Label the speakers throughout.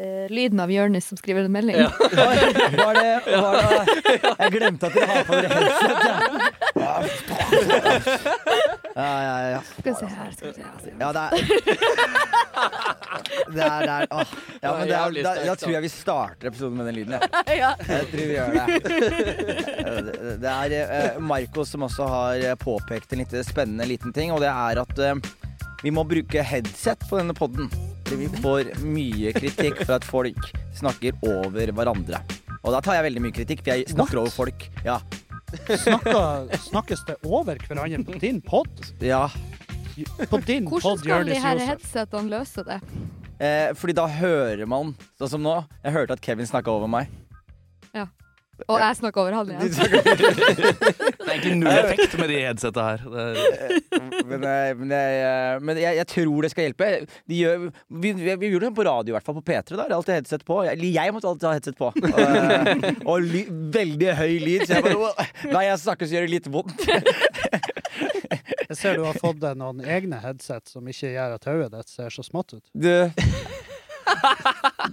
Speaker 1: eh, lyden av Jonis som skriver en melding.
Speaker 2: Oi, var det, var det Jeg glemte at dere har på dere headset. Ja, ja, ja. ja.
Speaker 1: Skal vi se her skal vi se. altså. her.
Speaker 2: Ja, det er Det er, det er åh. Ja, men det er, da, da tror jeg vi starter episoden med den lyden, jeg.
Speaker 1: Ja.
Speaker 2: Jeg tror vi gjør det. Det- Det er eh, Marcos som også har eh, påpekt en litt spennende liten ting, og det er at eh, vi må bruke headset på denne podden. Fordi vi får mye kritikk for at folk snakker over hverandre. Og da tar jeg veldig mye kritikk, for jeg snakker over folk. Ja.
Speaker 3: Snakker, snakkes det over hverandre på din pod?
Speaker 2: ja.
Speaker 3: På
Speaker 1: Hvordan
Speaker 3: din
Speaker 1: skal
Speaker 3: pod,
Speaker 1: de
Speaker 3: Jonis
Speaker 1: her
Speaker 3: Josef.
Speaker 1: headsetene løse det?
Speaker 2: Eh, fordi da hører man, sånn som nå. Jeg hørte at Kevin snakka over meg.
Speaker 1: Og jeg snakker over han igjen.
Speaker 4: Det er egentlig null effekt med de headsetta her. Det er,
Speaker 2: Men, eh, men, jeg, eh, men jeg, jeg tror det skal hjelpe. De gjør, vi, vi, vi gjorde det på radio, i hvert fall. På P3. da, det er alltid headset på. Eller jeg måtte alltid ha headset på. Og, eh, og ly, veldig høy lyd. Så jeg bare «Åh, Nei, jeg snakker så gjør det litt vondt.
Speaker 3: Jeg ser du har fått deg noen egne headset som ikke gjør at hodet ditt ser så smått ut.
Speaker 2: Du.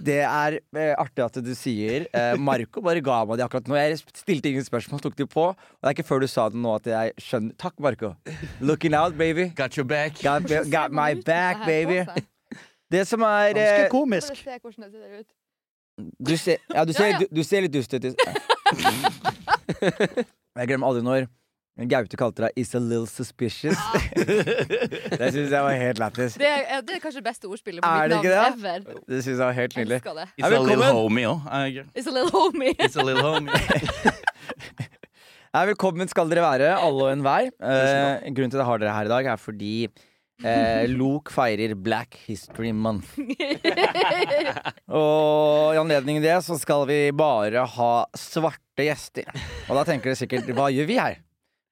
Speaker 2: Det er eh, artig at du sier. Eh, Marco bare ga meg det akkurat nå. Jeg stilte ingen spørsmål, tok de på. Og det er ikke før du sa det nå at jeg skjønner. Takk, Marco. Looking out, baby.
Speaker 4: got your back.
Speaker 2: Got, got my back, baby.
Speaker 1: Skal
Speaker 2: Det som er eh,
Speaker 3: Ganske komisk.
Speaker 1: se hvordan det ser ut.
Speaker 2: Du ser, ja, du ser,
Speaker 1: Ja, ja.
Speaker 2: Du, du ser litt dust ut. i- Jeg glemmer aldri når Gaute kalte deg 'is a little suspicious'. det syns jeg var helt lættis.
Speaker 1: Det er, det er kanskje det beste ordspillet på
Speaker 2: Er
Speaker 1: mitt
Speaker 2: det ikke
Speaker 1: navn ever.
Speaker 2: Det syns jeg var helt nydelig.
Speaker 1: Elsker det.
Speaker 4: It's a little
Speaker 2: Velkommen.
Speaker 4: homie òg.
Speaker 1: It's a little homie.
Speaker 4: It's a little homie.
Speaker 2: Nei, velkommen skal dere være, alle og enhver. Eh, grunnen til at jeg har dere her i dag, er fordi eh, Lok feirer Black History Month. og i anledning til det så skal vi bare ha svarte gjester. Og da tenker dere sikkert hva gjør vi her?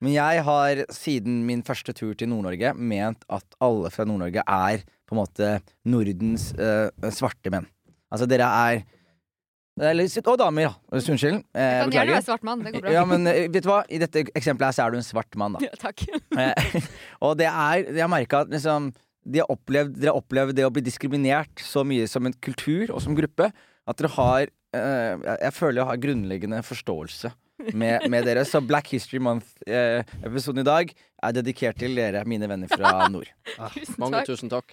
Speaker 2: Men jeg har siden min første tur til Nord-Norge ment at alle fra Nord-Norge er på en måte Nordens eh, svarte menn. Altså dere er eller, Og damer, ja. Unnskyld. Eh,
Speaker 1: Kan gjerne være svart mann, det går bra.
Speaker 2: ja, men eh, vet du hva? I dette eksempelet her så er du en svart mann, da.
Speaker 1: Ja, takk.
Speaker 2: Eh, og det er Jeg merka at liksom de har opplevd, Dere har opplevd det å bli diskriminert så mye som en kultur og som gruppe at dere har eh, jeg- Jeg føler jeg har grunnleggende forståelse med, med dere. Så Black History Month-episoden i dag er dedikert til dere, mine venner fra nord.
Speaker 1: Tusen
Speaker 5: Mange
Speaker 1: takk.
Speaker 5: tusen takk.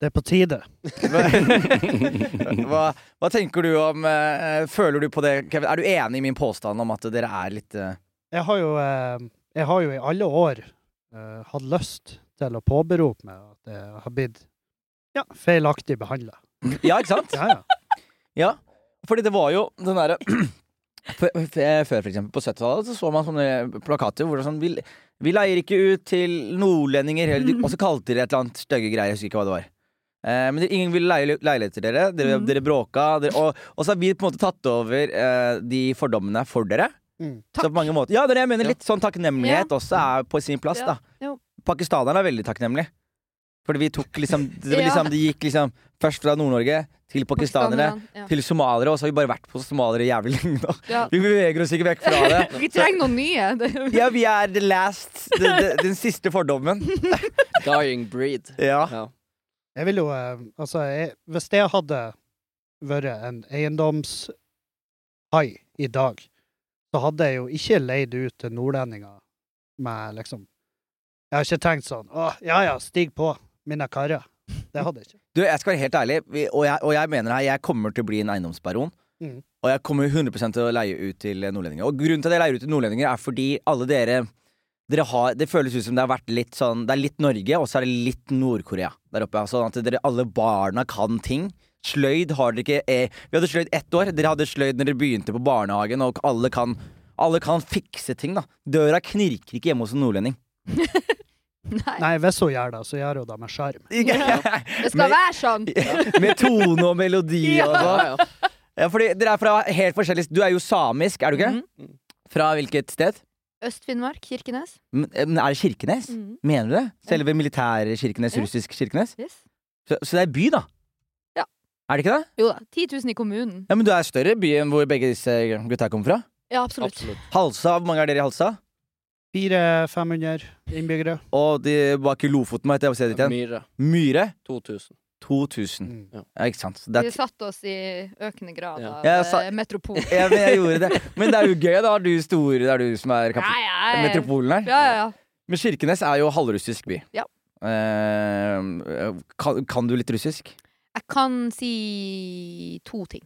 Speaker 3: Det er på tide.
Speaker 2: Hva, hva tenker du om eh, Føler du på det, Kevin? Er du enig i min påstand om at dere er litt eh,
Speaker 3: Jeg har jo, eh, jeg har jo i alle år eh, hatt lyst til å påberope meg at jeg har blitt ja, feilaktig behandla.
Speaker 2: Ja, ikke sant?
Speaker 3: Ja, ja.
Speaker 2: Ja, fordi det var jo den derre Før, før for eksempel på 70-tallet så så man sånne plakater hvor det var sånn vi, vi leier ikke ut til nordlendinger, eller- og så kalte de det et eller annet stygge greier. Jeg husker ikke hva det var. Eh, men det, ingen ville leie leiligheter til dere. Dere,
Speaker 1: Mm.
Speaker 2: dere bråka. Dere, og, og så har vi på en måte tatt over eh, de fordommene for dere.
Speaker 3: Mm.
Speaker 2: Så på mange måter Ja, det er det jeg mener. Litt sånn takknemlighet også er på sin plass,
Speaker 1: Ja,
Speaker 2: da.
Speaker 1: jo.
Speaker 2: Pakistanerne er veldig takknemlige. Fordi vi tok liksom Det, var
Speaker 1: Ja.
Speaker 2: liksom, det gikk liksom først fra Nord-Norge til pakistanere
Speaker 1: Ja.
Speaker 2: til somalere, og så har vi bare vært på somalere jævlig lenge nå.
Speaker 1: Ja.
Speaker 2: Vi beveger oss ikke vekk fra det.
Speaker 1: Vi trenger noen nye. Det er jo-
Speaker 2: Ja, vi er the last, the, the, den siste fordommen.
Speaker 5: Dying breed.
Speaker 2: Ja.
Speaker 5: Ja.
Speaker 3: Jeg vil jo eh, Altså, jeg, hvis jeg hadde vært en eiendomshai i dag, så hadde jeg jo ikke leid ut til nordlendinger med liksom Jeg har ikke tenkt sånn Å, ja ja, stig på, mine karer. Det hadde jeg ikke.
Speaker 2: Du, jeg skal være helt ærlig, vi- og jeg, og jeg mener her, jeg kommer til å bli en eiendomsbaron.
Speaker 3: Mhm.
Speaker 2: Og jeg kommer 100 til å leie ut til nordlendinger. Og grunnen til at jeg leier ut til nordlendinger, er fordi alle dere dere har, Det føles ut som det har vært litt sånn Det er litt Norge, og så er det litt Nord-Korea der oppe. ja. Sånn at dere alle barna kan ting. Sløyd har dere ikke eh, Vi hadde sløyd ett år. Dere hadde sløyd når dere begynte på barnehagen, og alle kan, alle kan fikse ting, da. Døra knirker ikke hjemme hos en nordlending.
Speaker 1: Nei.
Speaker 3: Nei, hvis hun gjør det, så gjør hun det med sjarm.
Speaker 1: Det skal
Speaker 2: Men-
Speaker 1: være sånn.
Speaker 2: Med tone og melodi og sånn.
Speaker 5: Ja, ja.
Speaker 1: Mhm.
Speaker 2: Ja, fordi dere er fra helt forskjellig Du er jo samisk, er du ikke? Fra hvilket sted?
Speaker 1: Øst-Finnmark, Kirkenes.
Speaker 2: Men eh, men er det Kirkenes?
Speaker 1: Mm.
Speaker 2: Mener du det? Selve militære Kirkenes,
Speaker 1: Ja.
Speaker 2: russisk Kirkenes?
Speaker 1: Yes.
Speaker 2: Så, så det er by, da?
Speaker 1: Ja.
Speaker 2: Er det ikke det?
Speaker 1: Jo da. 10 000 i kommunen.
Speaker 2: Ja, Men du er større by enn hvor begge disse gutta kommer fra?
Speaker 1: Ja, absolutt.
Speaker 5: Absolutt.
Speaker 2: Halsa, hvor mange er dere i Halsa?
Speaker 3: 400-500 innbyggere.
Speaker 2: Og de bak i Lofoten, hva heter det stedet ditt igjen?
Speaker 5: Myre.
Speaker 2: Myre?
Speaker 5: 2000.
Speaker 2: 2000.
Speaker 3: Mm.
Speaker 2: Ja, ikke sant. Så Det
Speaker 1: Vi
Speaker 2: er
Speaker 1: satte oss i økende grad
Speaker 5: Ja.
Speaker 1: av
Speaker 2: Ja,
Speaker 1: eh,
Speaker 2: sa-
Speaker 1: metropol.
Speaker 2: ja, men jeg gjorde det. Men det er jo gøy. Da har du store Det er du som er
Speaker 1: Ja,
Speaker 2: kapten.
Speaker 1: ja, ja.
Speaker 2: metropolen her.
Speaker 1: Ja, ja, ja.
Speaker 2: Men Kirkenes er jo halvrussisk by.
Speaker 1: Ja.
Speaker 2: Eh, kan, kan du litt russisk?
Speaker 1: Jeg kan si to ting.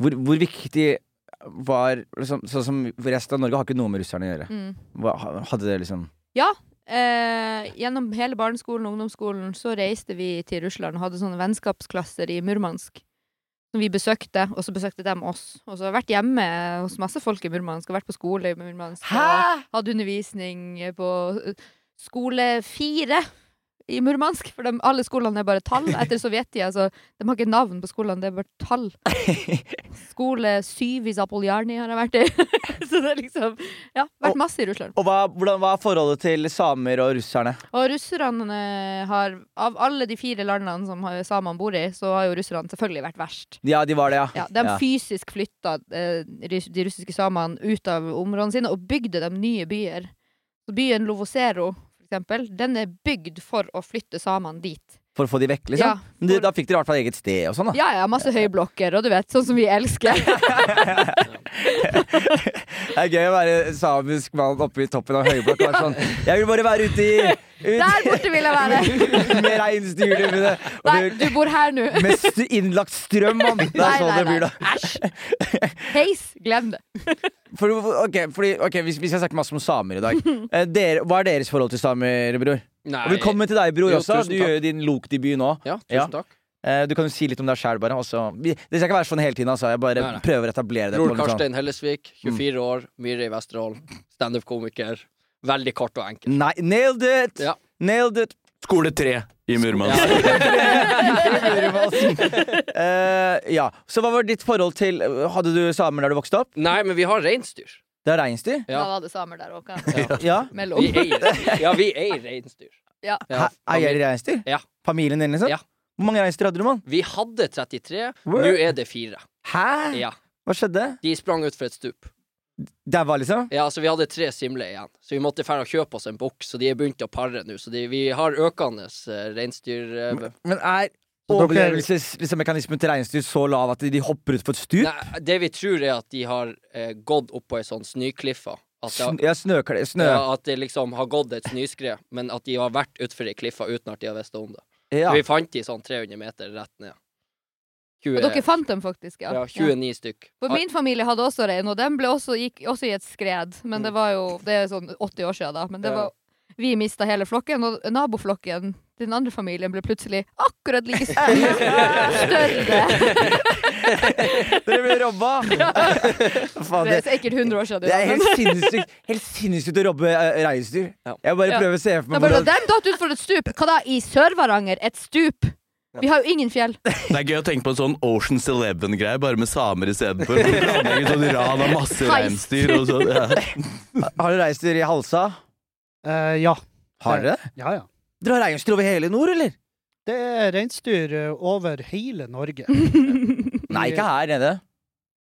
Speaker 2: Hvor, hvor viktig var liksom, Sånn som resten av Norge har ikke noe med russerne å gjøre.
Speaker 1: Mm.
Speaker 2: Hva, hadde det liksom
Speaker 1: Eh, gjennom hele barneskolen og ungdomsskolen så reiste vi til Russland og hadde sånne vennskapsklasser i Murmansk. Som vi besøkte, og så besøkte de oss. Og så har jeg vært hjemme hos masse folk i Murmansk. Og vært på skole i Murmansk. Og hadde undervisning på eh, skole fire i Murmansk. For de, alle skolene er bare tall. Etter sovjettida, så de har ikke navn på skolene, det er bare tall. Skole syv i Zapoljarny har jeg vært i. så det er liksom Ja,
Speaker 2: Og-
Speaker 1: vært masse i Russland.
Speaker 2: Og hva, hvordan, hva er forholdet til samer og russerne?
Speaker 1: Og russerne har Av alle de fire landene som har- samene bor i, så har jo russerne selvfølgelig vært verst.
Speaker 2: Ja, de var det, ja.
Speaker 1: Ja, de
Speaker 2: Ja.
Speaker 1: fysisk flytta eh, rus- de russiske samene ut av områdene sine og bygde dem nye byer. Så byen Lovosero, for eksempel, den er bygd for å flytte samene dit.
Speaker 2: For å få de vekk, liksom?
Speaker 1: Ja,
Speaker 2: Men de,
Speaker 1: for-
Speaker 2: da fikk dere i hvert fall eget sted og sånn, da.
Speaker 1: Ja ja, masse høyblokker og du vet, sånn som vi elsker.
Speaker 2: Det er gøy å være samisk mann oppe i toppen av høyblokk og være sånn Jeg vil bare være ute i
Speaker 1: Der
Speaker 2: ut,
Speaker 1: borte vil jeg være!
Speaker 2: Med reinsdyrene mine. Og
Speaker 1: Nei,
Speaker 2: det-
Speaker 1: du bor her nå.
Speaker 2: Med st- innlagt strøm, mann! Det er sånn det blir, da.
Speaker 1: Æsj. Heis, glem det.
Speaker 2: For, ok, fordi, ok, vi, vi skal snakke masse om samer i dag. Eh, dere, hva er deres forhold til samer, bror?
Speaker 5: Nei.
Speaker 2: Og Velkommen til deg, bror.
Speaker 5: Jo,
Speaker 2: også.
Speaker 5: tusen
Speaker 2: Du
Speaker 5: takk.
Speaker 2: gjør jo din lokdebut nå.
Speaker 5: Ja, tusen
Speaker 2: Ja.
Speaker 5: takk.
Speaker 2: Eh, Du kan jo si litt om deg sjæl, bare. og så- vi- Det skal ikke være sånn hele tiden, altså. Jeg bare
Speaker 5: Nei, nei.
Speaker 2: prøver å etablere det. på
Speaker 5: Bror
Speaker 2: en sånn-
Speaker 5: Karstein Hellesvik, 24 år, Myhre i Vesterålen. Standup-komiker. Veldig kort og enkelt.
Speaker 2: Nei, nailed it!
Speaker 5: Ja.
Speaker 2: Nailed it!
Speaker 4: Skole tre i Murmansk.
Speaker 5: Ja.
Speaker 2: Eh, ja. Så hva var ditt forhold til Hadde du samer der du vokste opp?
Speaker 5: Nei, men vi har reinsdyr.
Speaker 2: Det er reinsdyr?
Speaker 5: Ja.
Speaker 1: Da var det samer der òg,
Speaker 2: Ja.
Speaker 1: mellom.
Speaker 5: Vi eier, ja, vi eier reinsdyr.
Speaker 1: Ja.
Speaker 5: Ja.
Speaker 2: Hæ, Eier de reinsdyr?
Speaker 5: Ja.
Speaker 2: Familien din, liksom?
Speaker 5: Ja.
Speaker 2: Hvor mange reinsdyr hadde du, mann?
Speaker 5: Vi hadde 33,
Speaker 2: Word.
Speaker 5: nå er det fire.
Speaker 2: Hæ?
Speaker 5: Ja.
Speaker 2: Hva skjedde?
Speaker 5: De sprang ut fra et stup.
Speaker 2: Daua, liksom?
Speaker 5: Ja, så vi hadde tre simler igjen, så vi måtte fære og kjøpe oss en boks, så de er begynt å pare nå. Så de, vi har økende eh, reinsdyr... eh,
Speaker 2: Men er
Speaker 3: Så dere-
Speaker 2: overlevelsesmekanismen liksom til reinsdyr så lav at de hopper ut på et stup?
Speaker 5: Nei, det vi tror er at de har eh, gått opp på ei sånn snøkliffe. At
Speaker 1: altså-
Speaker 5: det,
Speaker 2: Sn- Ja, snøkle... Snø...
Speaker 5: har- ja, at det liksom har gått et snøskred, men at de har vært utfor ei kliffe uten at de har visst om det.
Speaker 2: Ja.
Speaker 5: Så vi fant de sånn 300 meter rett ned. 20,
Speaker 1: Og dere fant dem faktisk, ja.
Speaker 5: ja, 29 stykk.
Speaker 1: For min familie hadde også rein, og den ble også, gikk også i et skred. Men
Speaker 2: Mm.
Speaker 1: det var jo det er sånn 80 år siden, da. Men det
Speaker 5: Ja.
Speaker 1: var, vi mista hele flokken, og naboflokken til den andre familien ble plutselig akkurat like stor. Større.
Speaker 2: Dere ble robba! Faen,
Speaker 1: Det er
Speaker 2: det,
Speaker 1: sikkert 100 år siden.
Speaker 2: det er
Speaker 1: da, men-
Speaker 2: helt sinnssykt Helt sinnssykt å robbe eh, reinsdyr.
Speaker 5: Ja.
Speaker 2: Jeg bare
Speaker 1: Ja.
Speaker 2: prøver å se for
Speaker 1: Da
Speaker 2: meg
Speaker 1: bare,
Speaker 2: hvordan
Speaker 1: dem datt utfor et stup! Hva da, i Sør-Varanger? Et stup? Vi har jo ingen fjell.
Speaker 4: Det er gøy å tenke på en sånn Oceans Eleven-greie, bare med samer istedenfor. Hvor de planlegger Sånn ran av masse
Speaker 1: Heist.
Speaker 4: reinsdyr og sånn. Ja.
Speaker 2: Har dere reinsdyr i Halsa?
Speaker 3: Eh, ja.
Speaker 2: Har dere det?
Speaker 3: ja, ja.
Speaker 2: Dere har reinsdyr over hele nord, eller?
Speaker 3: Det er reinsdyr eh, over hele Norge.
Speaker 2: Nei, ikke her nede.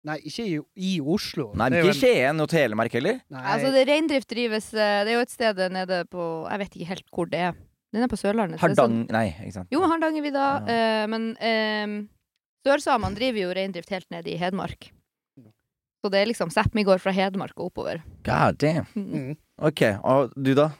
Speaker 3: Nei, ikke i, i Oslo.
Speaker 2: Nei,
Speaker 3: Det er
Speaker 2: Ikke
Speaker 3: jo en-
Speaker 2: Skien og Telemark heller.
Speaker 3: Nei,
Speaker 1: Altså, det Reindrift drives eh, Det er jo et sted nede på Jeg vet ikke helt hvor det er. Den er på Sørlandet. så det er sånn-
Speaker 2: Hardang... Nei, ikke sant.
Speaker 1: Jo, Hardangervidda.
Speaker 2: Ja.
Speaker 1: eh, men eh, sørsamene driver jo reindrift helt ned i Hedmark. Så det er liksom Sápmi går fra Hedmark og oppover.
Speaker 2: God damn.
Speaker 1: Mm.
Speaker 3: Mm.
Speaker 2: Ok, og du da?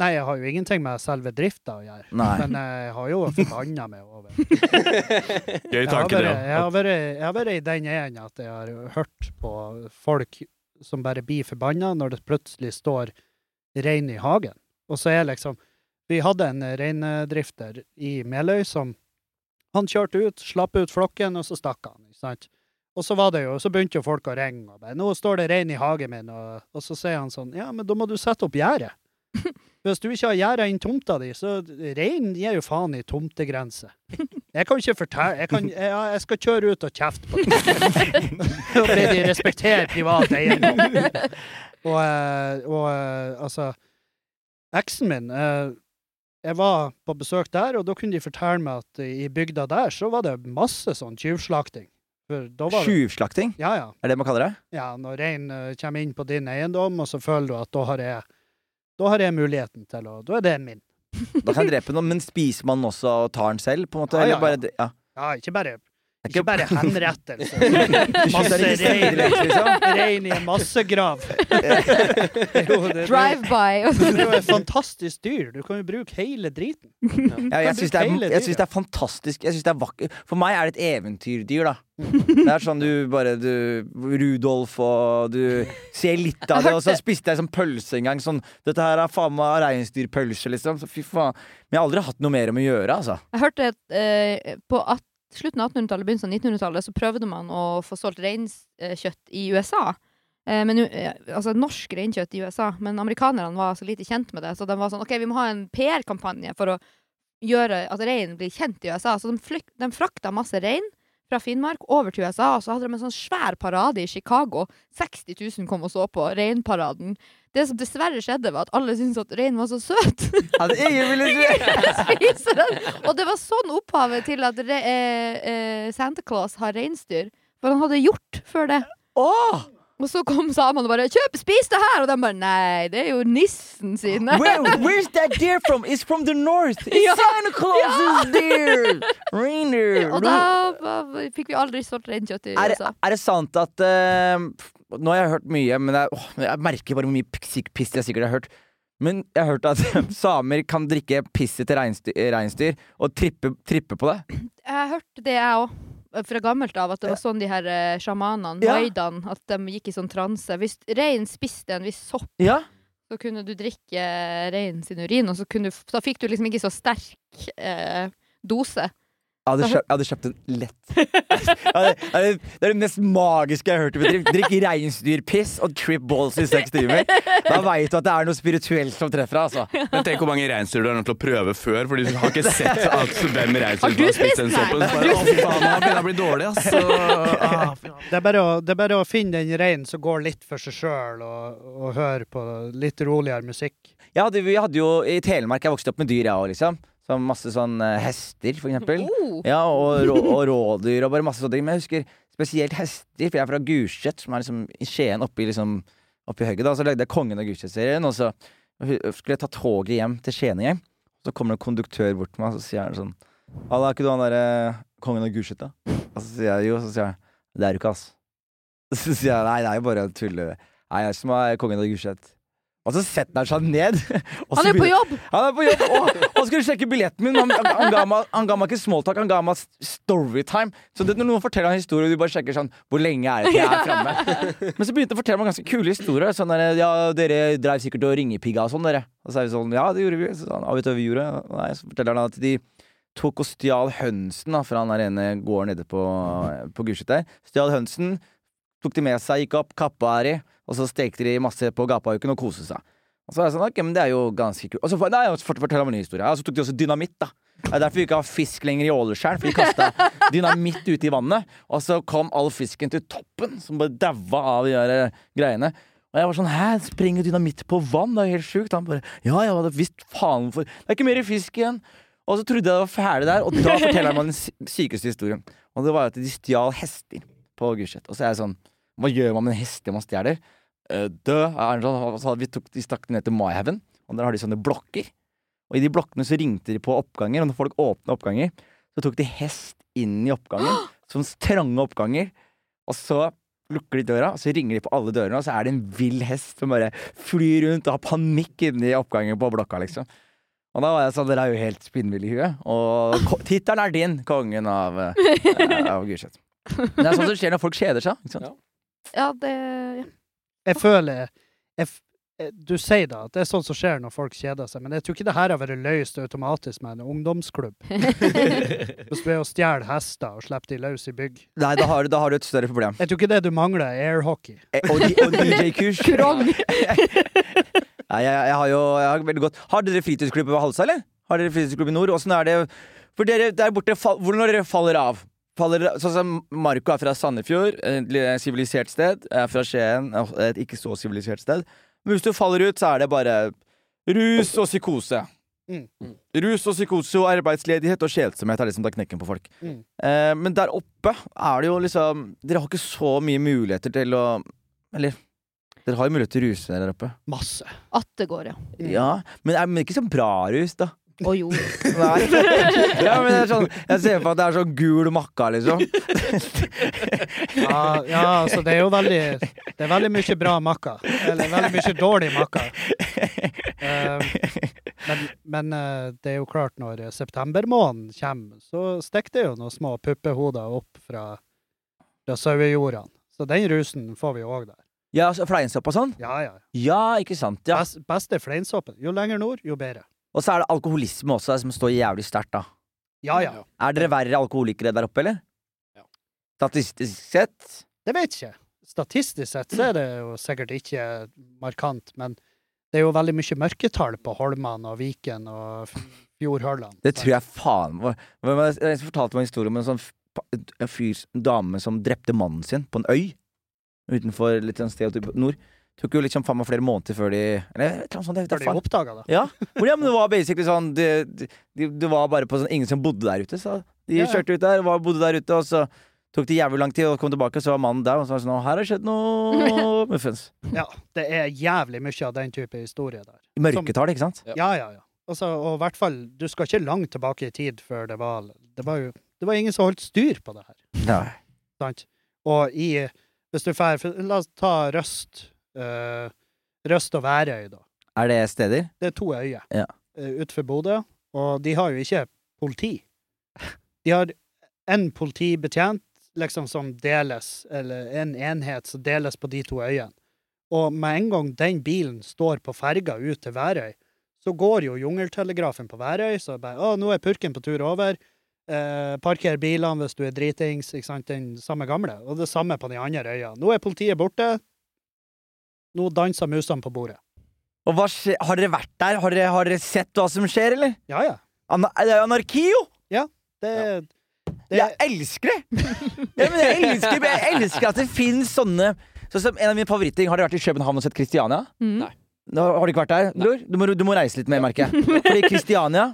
Speaker 3: Nei, jeg har jo ingenting med selve drifta å gjøre.
Speaker 2: Nei.
Speaker 3: Men jeg har jo forbanna meg over
Speaker 4: Gøy
Speaker 3: Jeg har
Speaker 4: tanke, det.
Speaker 3: vært- jeg har vært- jeg har vært i den enden at jeg har hørt på folk som bare blir forbanna når det plutselig står rein i hagen. Og så er liksom Vi hadde en reindrifter i Meløy som Han kjørte ut, slapp ut flokken, og så stakk han. ikke sant? Og så var det jo, så begynte jo folk å ringe. og bare, 'Nå står det rein i hagen min.' Og, og så sier han sånn 'Ja, men da må du sette opp gjerdet.' Hvis du ikke har gjerda inn tomta di, så reinen gir jo faen i tomtegrense. Jeg kan ikke fortelle Jeg, kan, jeg, jeg skal kjøre ut og kjefte på dem. Og be de respektere privat eiendom. Og, eh, og eh, altså Eksen min eh, Jeg var på besøk der, og da kunne de fortelle meg at i bygda der så var det masse sånn tjuvslakting. For da var det
Speaker 2: Tjuvslakting,
Speaker 3: Ja, ja.
Speaker 2: er det man kaller det?
Speaker 3: Ja, når rein eh, kommer inn på din eiendom, og så føler du at da har jeg, da har jeg muligheten til å Da er det min.
Speaker 2: Da kan jeg drepe noen, men spiser man også og tar den selv? på en måte?
Speaker 3: Ja, ja,
Speaker 2: Eller bare, ja.
Speaker 3: Ja, ikke bare,
Speaker 2: Det er
Speaker 3: ikke
Speaker 2: ikke-
Speaker 3: bare henrettelse.
Speaker 2: Det
Speaker 3: Masse
Speaker 2: er ikke
Speaker 3: rein,
Speaker 2: stillhet, liksom.
Speaker 3: rein i en massegrav. Det er jo- det- det-
Speaker 1: Drive-by. og
Speaker 3: Det
Speaker 1: så-
Speaker 3: er jo et fantastisk dyr. Du kan jo bruke hele driten.
Speaker 2: Ja, jeg syns det,
Speaker 3: Feil dyr,
Speaker 2: er- jeg syns det er fantastisk. Jeg synes det er vakkert. For meg er det et eventyrdyr, da. Det er sånn du bare du, Rudolf og du ser litt av det, og så spiste jeg sånn pølse en gang. Sånn, Dette her er faen meg reinsdyrpølse, liksom. Så fy faen. Men jeg har aldri hatt noe mer om å gjøre, altså.
Speaker 1: Jeg hørte at eh, på at, slutten av 1800-tallet, begynnelsen av 1900-tallet, så prøvde man å få solgt reinkjøtt i USA. Eh, men, u- eh, altså norsk reinkjøtt i USA, men amerikanerne var så lite kjent med det. Så de var sånn OK, vi må ha en PR-kampanje for å gjøre at rein blir kjent i USA. Så de, flyk, de frakta masse rein fra Finnmark over til USA, og så hadde de en sånn svær parade i Chicago. 60 000 kom og så på reinparaden. Det som dessverre skjedde, var at alle syntes at rein var så søt.
Speaker 2: Ja, det, ingen ville
Speaker 1: spiser den. Og det var sånn opphavet til at re, eh, eh, Santa Claus har reinsdyr. For han hadde hjort før det.
Speaker 2: Åh!
Speaker 1: Og så kom samene og bare 'kjøp, spis det her!' Og de bare 'nei, det er jo nissen sine'.
Speaker 2: Where, where's that deer from? It's from the north! It's Santa Claus' deer! Reindeer!
Speaker 1: Og da var- fikk vi aldri solgt reinkjøtt i
Speaker 2: Er,
Speaker 1: USA.
Speaker 2: er det sant at eh, pff, Nå har jeg hørt mye, men jeg, åh, men jeg merker bare hvor mye piss, piss jeg sikkert har hørt. Men jeg har hørt at samer kan drikke pisset til reinsdyr, reinsdyr og trippe, trippe på det.
Speaker 1: Jeg hørte det, jeg òg. Fra gammelt av at det var sånn de her eh, sjamanene,
Speaker 2: Ja.
Speaker 1: voidene, at de gikk i sånn transe. Hvis reinen spiste en viss sopp,
Speaker 2: Ja,
Speaker 1: så kunne du drikke reinen sin urin, og så, kunne du, da fikk du liksom ikke så sterk eh, dose.
Speaker 2: Jeg hadde, kjøpt, jeg hadde kjøpt den lett. Jeg hadde, jeg hadde, det er det mest magiske jeg har hørt. i mitt liv. Drikk reinsdyrpiss og trip balls i seks timer. Da veit du at det er noe spirituelt som treffer deg. Altså.
Speaker 4: Men tenk hvor mange reinsdyr du er nødt til å prøve før, for de har ikke sett at hvem reinsdyr
Speaker 1: Har
Speaker 4: som
Speaker 1: du
Speaker 4: har spist
Speaker 1: spist
Speaker 4: den
Speaker 1: den?
Speaker 4: soppen. Så bare, å, fy faen, han begynner å bli dårlig, ass. Så, ah, fy faen.
Speaker 3: Det er bare å, det er bare å finne den reinen som går litt for seg sjøl, og, og høre på litt roligere musikk.
Speaker 2: Jeg hadde, vi hadde jo i Telemark Jeg vokste opp med dyr, jeg òg, liksom. Så masse sånn eh, hester, for eksempel.
Speaker 1: Oh.
Speaker 2: Ja, og, rå, og rådyr og bare masse sånne ting. Men jeg husker spesielt hester, for jeg er fra Gulset, som er liksom i Skien, oppe i, liksom, oppe i høyre. Da. Så lagde jeg Kongen av Gulset-serien, og så skulle jeg ta toget hjem til Skien igjen. Så kommer det en konduktør bort til meg, og så sier han sånn Halla, er ikke du han derre kongen av Gulset, da? Og så sier jeg jo, så sier han Det er du ikke, ass. Så sier jeg nei, det er jo bare å tulle. Nei, jeg er som er kongen av Gulset. Og så setter han seg ned. og så
Speaker 1: Han er på
Speaker 2: begynner-
Speaker 1: jobb!
Speaker 2: han er på jobb og, og skulle sjekke billetten min. men Han, han, han, ga meg, han ga meg ikke smalltalk, han ga meg s- storytime. Så det, når noen forteller en historie, og du bare sjekker sånn Hvor lenge er det til jeg er framme? Men så begynte han å fortelle meg ganske kule historier. Sånn der, ja, dere dreiv sikkert og ringepigga og sånn, dere. Og så er vi sånn, ja, det gjorde vi. Så sa han, ja, vet du hva vi gjorde? Nei, så forteller han at de tok og stjal hønsen da, fra han der ene gården nede på, på Gulset der. Stjal hønsen, tok de med seg, gikk opp, kappa her i, og så stekte de masse på gapahauken og koste seg. Og så var jeg sånn, ok, men det er jo ganske kult. Og så, for- nei, og så fort- forteller han meg en ny historie. Og så tok de også dynamitt, da. Det er derfor vi ikke har fisk lenger i Åleskjær, for de kasta dynamitt ute i vannet. Og så kom all fisken til toppen, som bare daua av de der eh, greiene. Og jeg var sånn, hæ, springer dynamitt på vann? Det er jo helt sjukt. Han bare, ja, ja, det visst faen hvorfor. Det er ikke mer fisk igjen. Og så trodde jeg det var ferdig der, og da forteller han meg den sy- sykeste historien. Og det var at de stjal hester på Gulset. Og så er jeg sånn, hva gjør man med en hest man stjeler? Eh, død er en sånn- og så hadde vi tok, de stakk den ned til Myhaven, og der har de sånne blokker. Og i de blokkene så ringte de på oppganger, og når folk åpna oppganger, så tok de hest inn i oppgangen, som trange oppganger, og så lukker de døra, og så ringer de på alle dørene, og så er det en vill hest som bare flyr rundt og har panikk inni oppgangen på blokka, liksom. Og da var jeg sånn, dere er jo helt spinnville i huet, og ko- tittelen er din, kongen av, eh, av Gulset. Men Det er sånn som skjer når folk kjeder seg, ikke sant?
Speaker 1: Ja, det ja.
Speaker 3: Jeg føler jeg, f- eh, Du sier da at det er sånn som skjer når folk kjeder seg, men jeg tror ikke det her har vært løst automatisk med en ungdomsklubb. Hvis du er å stjele hester og slippe de løs i bygg.
Speaker 2: Nei, da har, du- da har du et større problem.
Speaker 3: Jeg tror ikke det du mangler, er airhockey.
Speaker 2: Eh, Og, di- og DJ-kurs.
Speaker 1: Krong!
Speaker 2: Nei, jeg, jeg har jo jeg har veldig godt Har dere fritidsklubb på Halsa, eller? Har dere fritidsklubb i nord? Åssen er det For dere der borte, fall, hvor når dere faller av? Faller, sånn som Marco er fra Sandefjord, et li- sivilisert sted. Jeg er fra Skien, et ikke så sivilisert sted. Men hvis du faller ut, så er det bare rus og psykose.
Speaker 3: Mm.
Speaker 2: Rus og psykose og arbeidsledighet og kjedsomhet er det som tar knekken på folk.
Speaker 3: Mm.
Speaker 2: Eh, men der oppe er det jo liksom Dere har ikke så mye muligheter til å Eller dere har jo mulighet til å ruse dere der oppe.
Speaker 3: Masse.
Speaker 1: Attegård, ja.
Speaker 3: Mm.
Speaker 2: Ja, men, eh, men ikke så bra rus, da.
Speaker 1: Å jo.
Speaker 2: Nei. Ja, men det er sånn, jeg ser for meg at det er sånn gul makka, liksom.
Speaker 3: Ja, ja, altså det er jo veldig Det er veldig mye bra makka. Eller veldig mye dårlig makka. Eh, men men eh, det er jo klart, når septembermåneden kommer, så stikker det jo noen små puppehoder opp fra, fra sauejordene. Så den rusen får vi òg der.
Speaker 2: Ja, så fleinsopp og sånn?
Speaker 3: Ja, ja.
Speaker 2: Ja, ikke sant. Ja.
Speaker 3: Best, beste fleinsoppen. Jo lenger nord, jo bedre.
Speaker 2: Og så er det alkoholisme også, som står jævlig sterkt, da.
Speaker 3: Ja, ja.
Speaker 2: Er dere verre alkoholikere der oppe, eller?
Speaker 5: Ja.
Speaker 2: Statistisk sett?
Speaker 3: Det vet ikke. Statistisk sett så er det jo sikkert ikke markant, men det er jo veldig mye mørketall på Holman og Viken og f- Fjordhøllene.
Speaker 2: Det tror jeg faen var Hvem var det som fortalte meg en historie om en sånn f- en fyr, en dame som drepte mannen sin på en øy utenfor litt sånn sted oppe i nord? Tok jo liksom faen meg flere måneder før de Eller et eller annet sånt. Jeg vet da
Speaker 3: Før de
Speaker 2: faen.
Speaker 3: oppdaga det.
Speaker 2: Ja, hvor- ja, men det var basically sånn Det de, det var bare på sånn Ingen som bodde der ute, så de
Speaker 3: Ja, ja.
Speaker 2: kjørte ut der, var, bodde der ute, og så tok det jævlig lang tid, og kom tilbake, og så var mannen der, og så var det sånn «Å, Her har det skjedd noe muffens.
Speaker 3: Ja, det er jævlig mye av den type historie der.
Speaker 2: Mørketall, ikke sant?
Speaker 5: Ja.
Speaker 3: Ja, ja, ja. Altså, og i hvert fall, du skal ikke langt tilbake i tid før det var Det var jo det var ingen som holdt styr på det her.
Speaker 2: Nei.
Speaker 3: Sant? Og i Hvis du drar La oss ta Røst. eh, Røst og Værøy, da.
Speaker 2: Er det steder?
Speaker 3: Det er to øyer
Speaker 2: Ja.
Speaker 3: eh, utenfor Bodø, og de har jo ikke politi. De har én politibetjent liksom som deles, eller en enhet som deles på de to øyene. Og med en gang den bilen står på ferga ut til Værøy, så går jo jungeltelegrafen på Værøy, så bare 'Å, nå er purken på tur over'. Eh, parker bilene hvis du er dritings, ikke sant, den samme gamle. Og det samme på den andre øya. Nå er politiet borte. Nå danser musene på bordet.
Speaker 2: Og hva skje, har dere vært der? Har dere, har dere sett hva som skjer, eller?
Speaker 3: Ja, ja.
Speaker 2: Ana, det er jo anarki, jo!
Speaker 3: Det, det,
Speaker 2: Jeg elsker det! ja, men jeg, elsker, jeg elsker at det finnes sånne Sånn som En av mine favorittting Har dere vært i København og sett Kristiania?
Speaker 1: Mm.
Speaker 2: Nå har du ikke vært der, bror? Du må, du må reise litt mer, merker jeg. Fordi Kristiania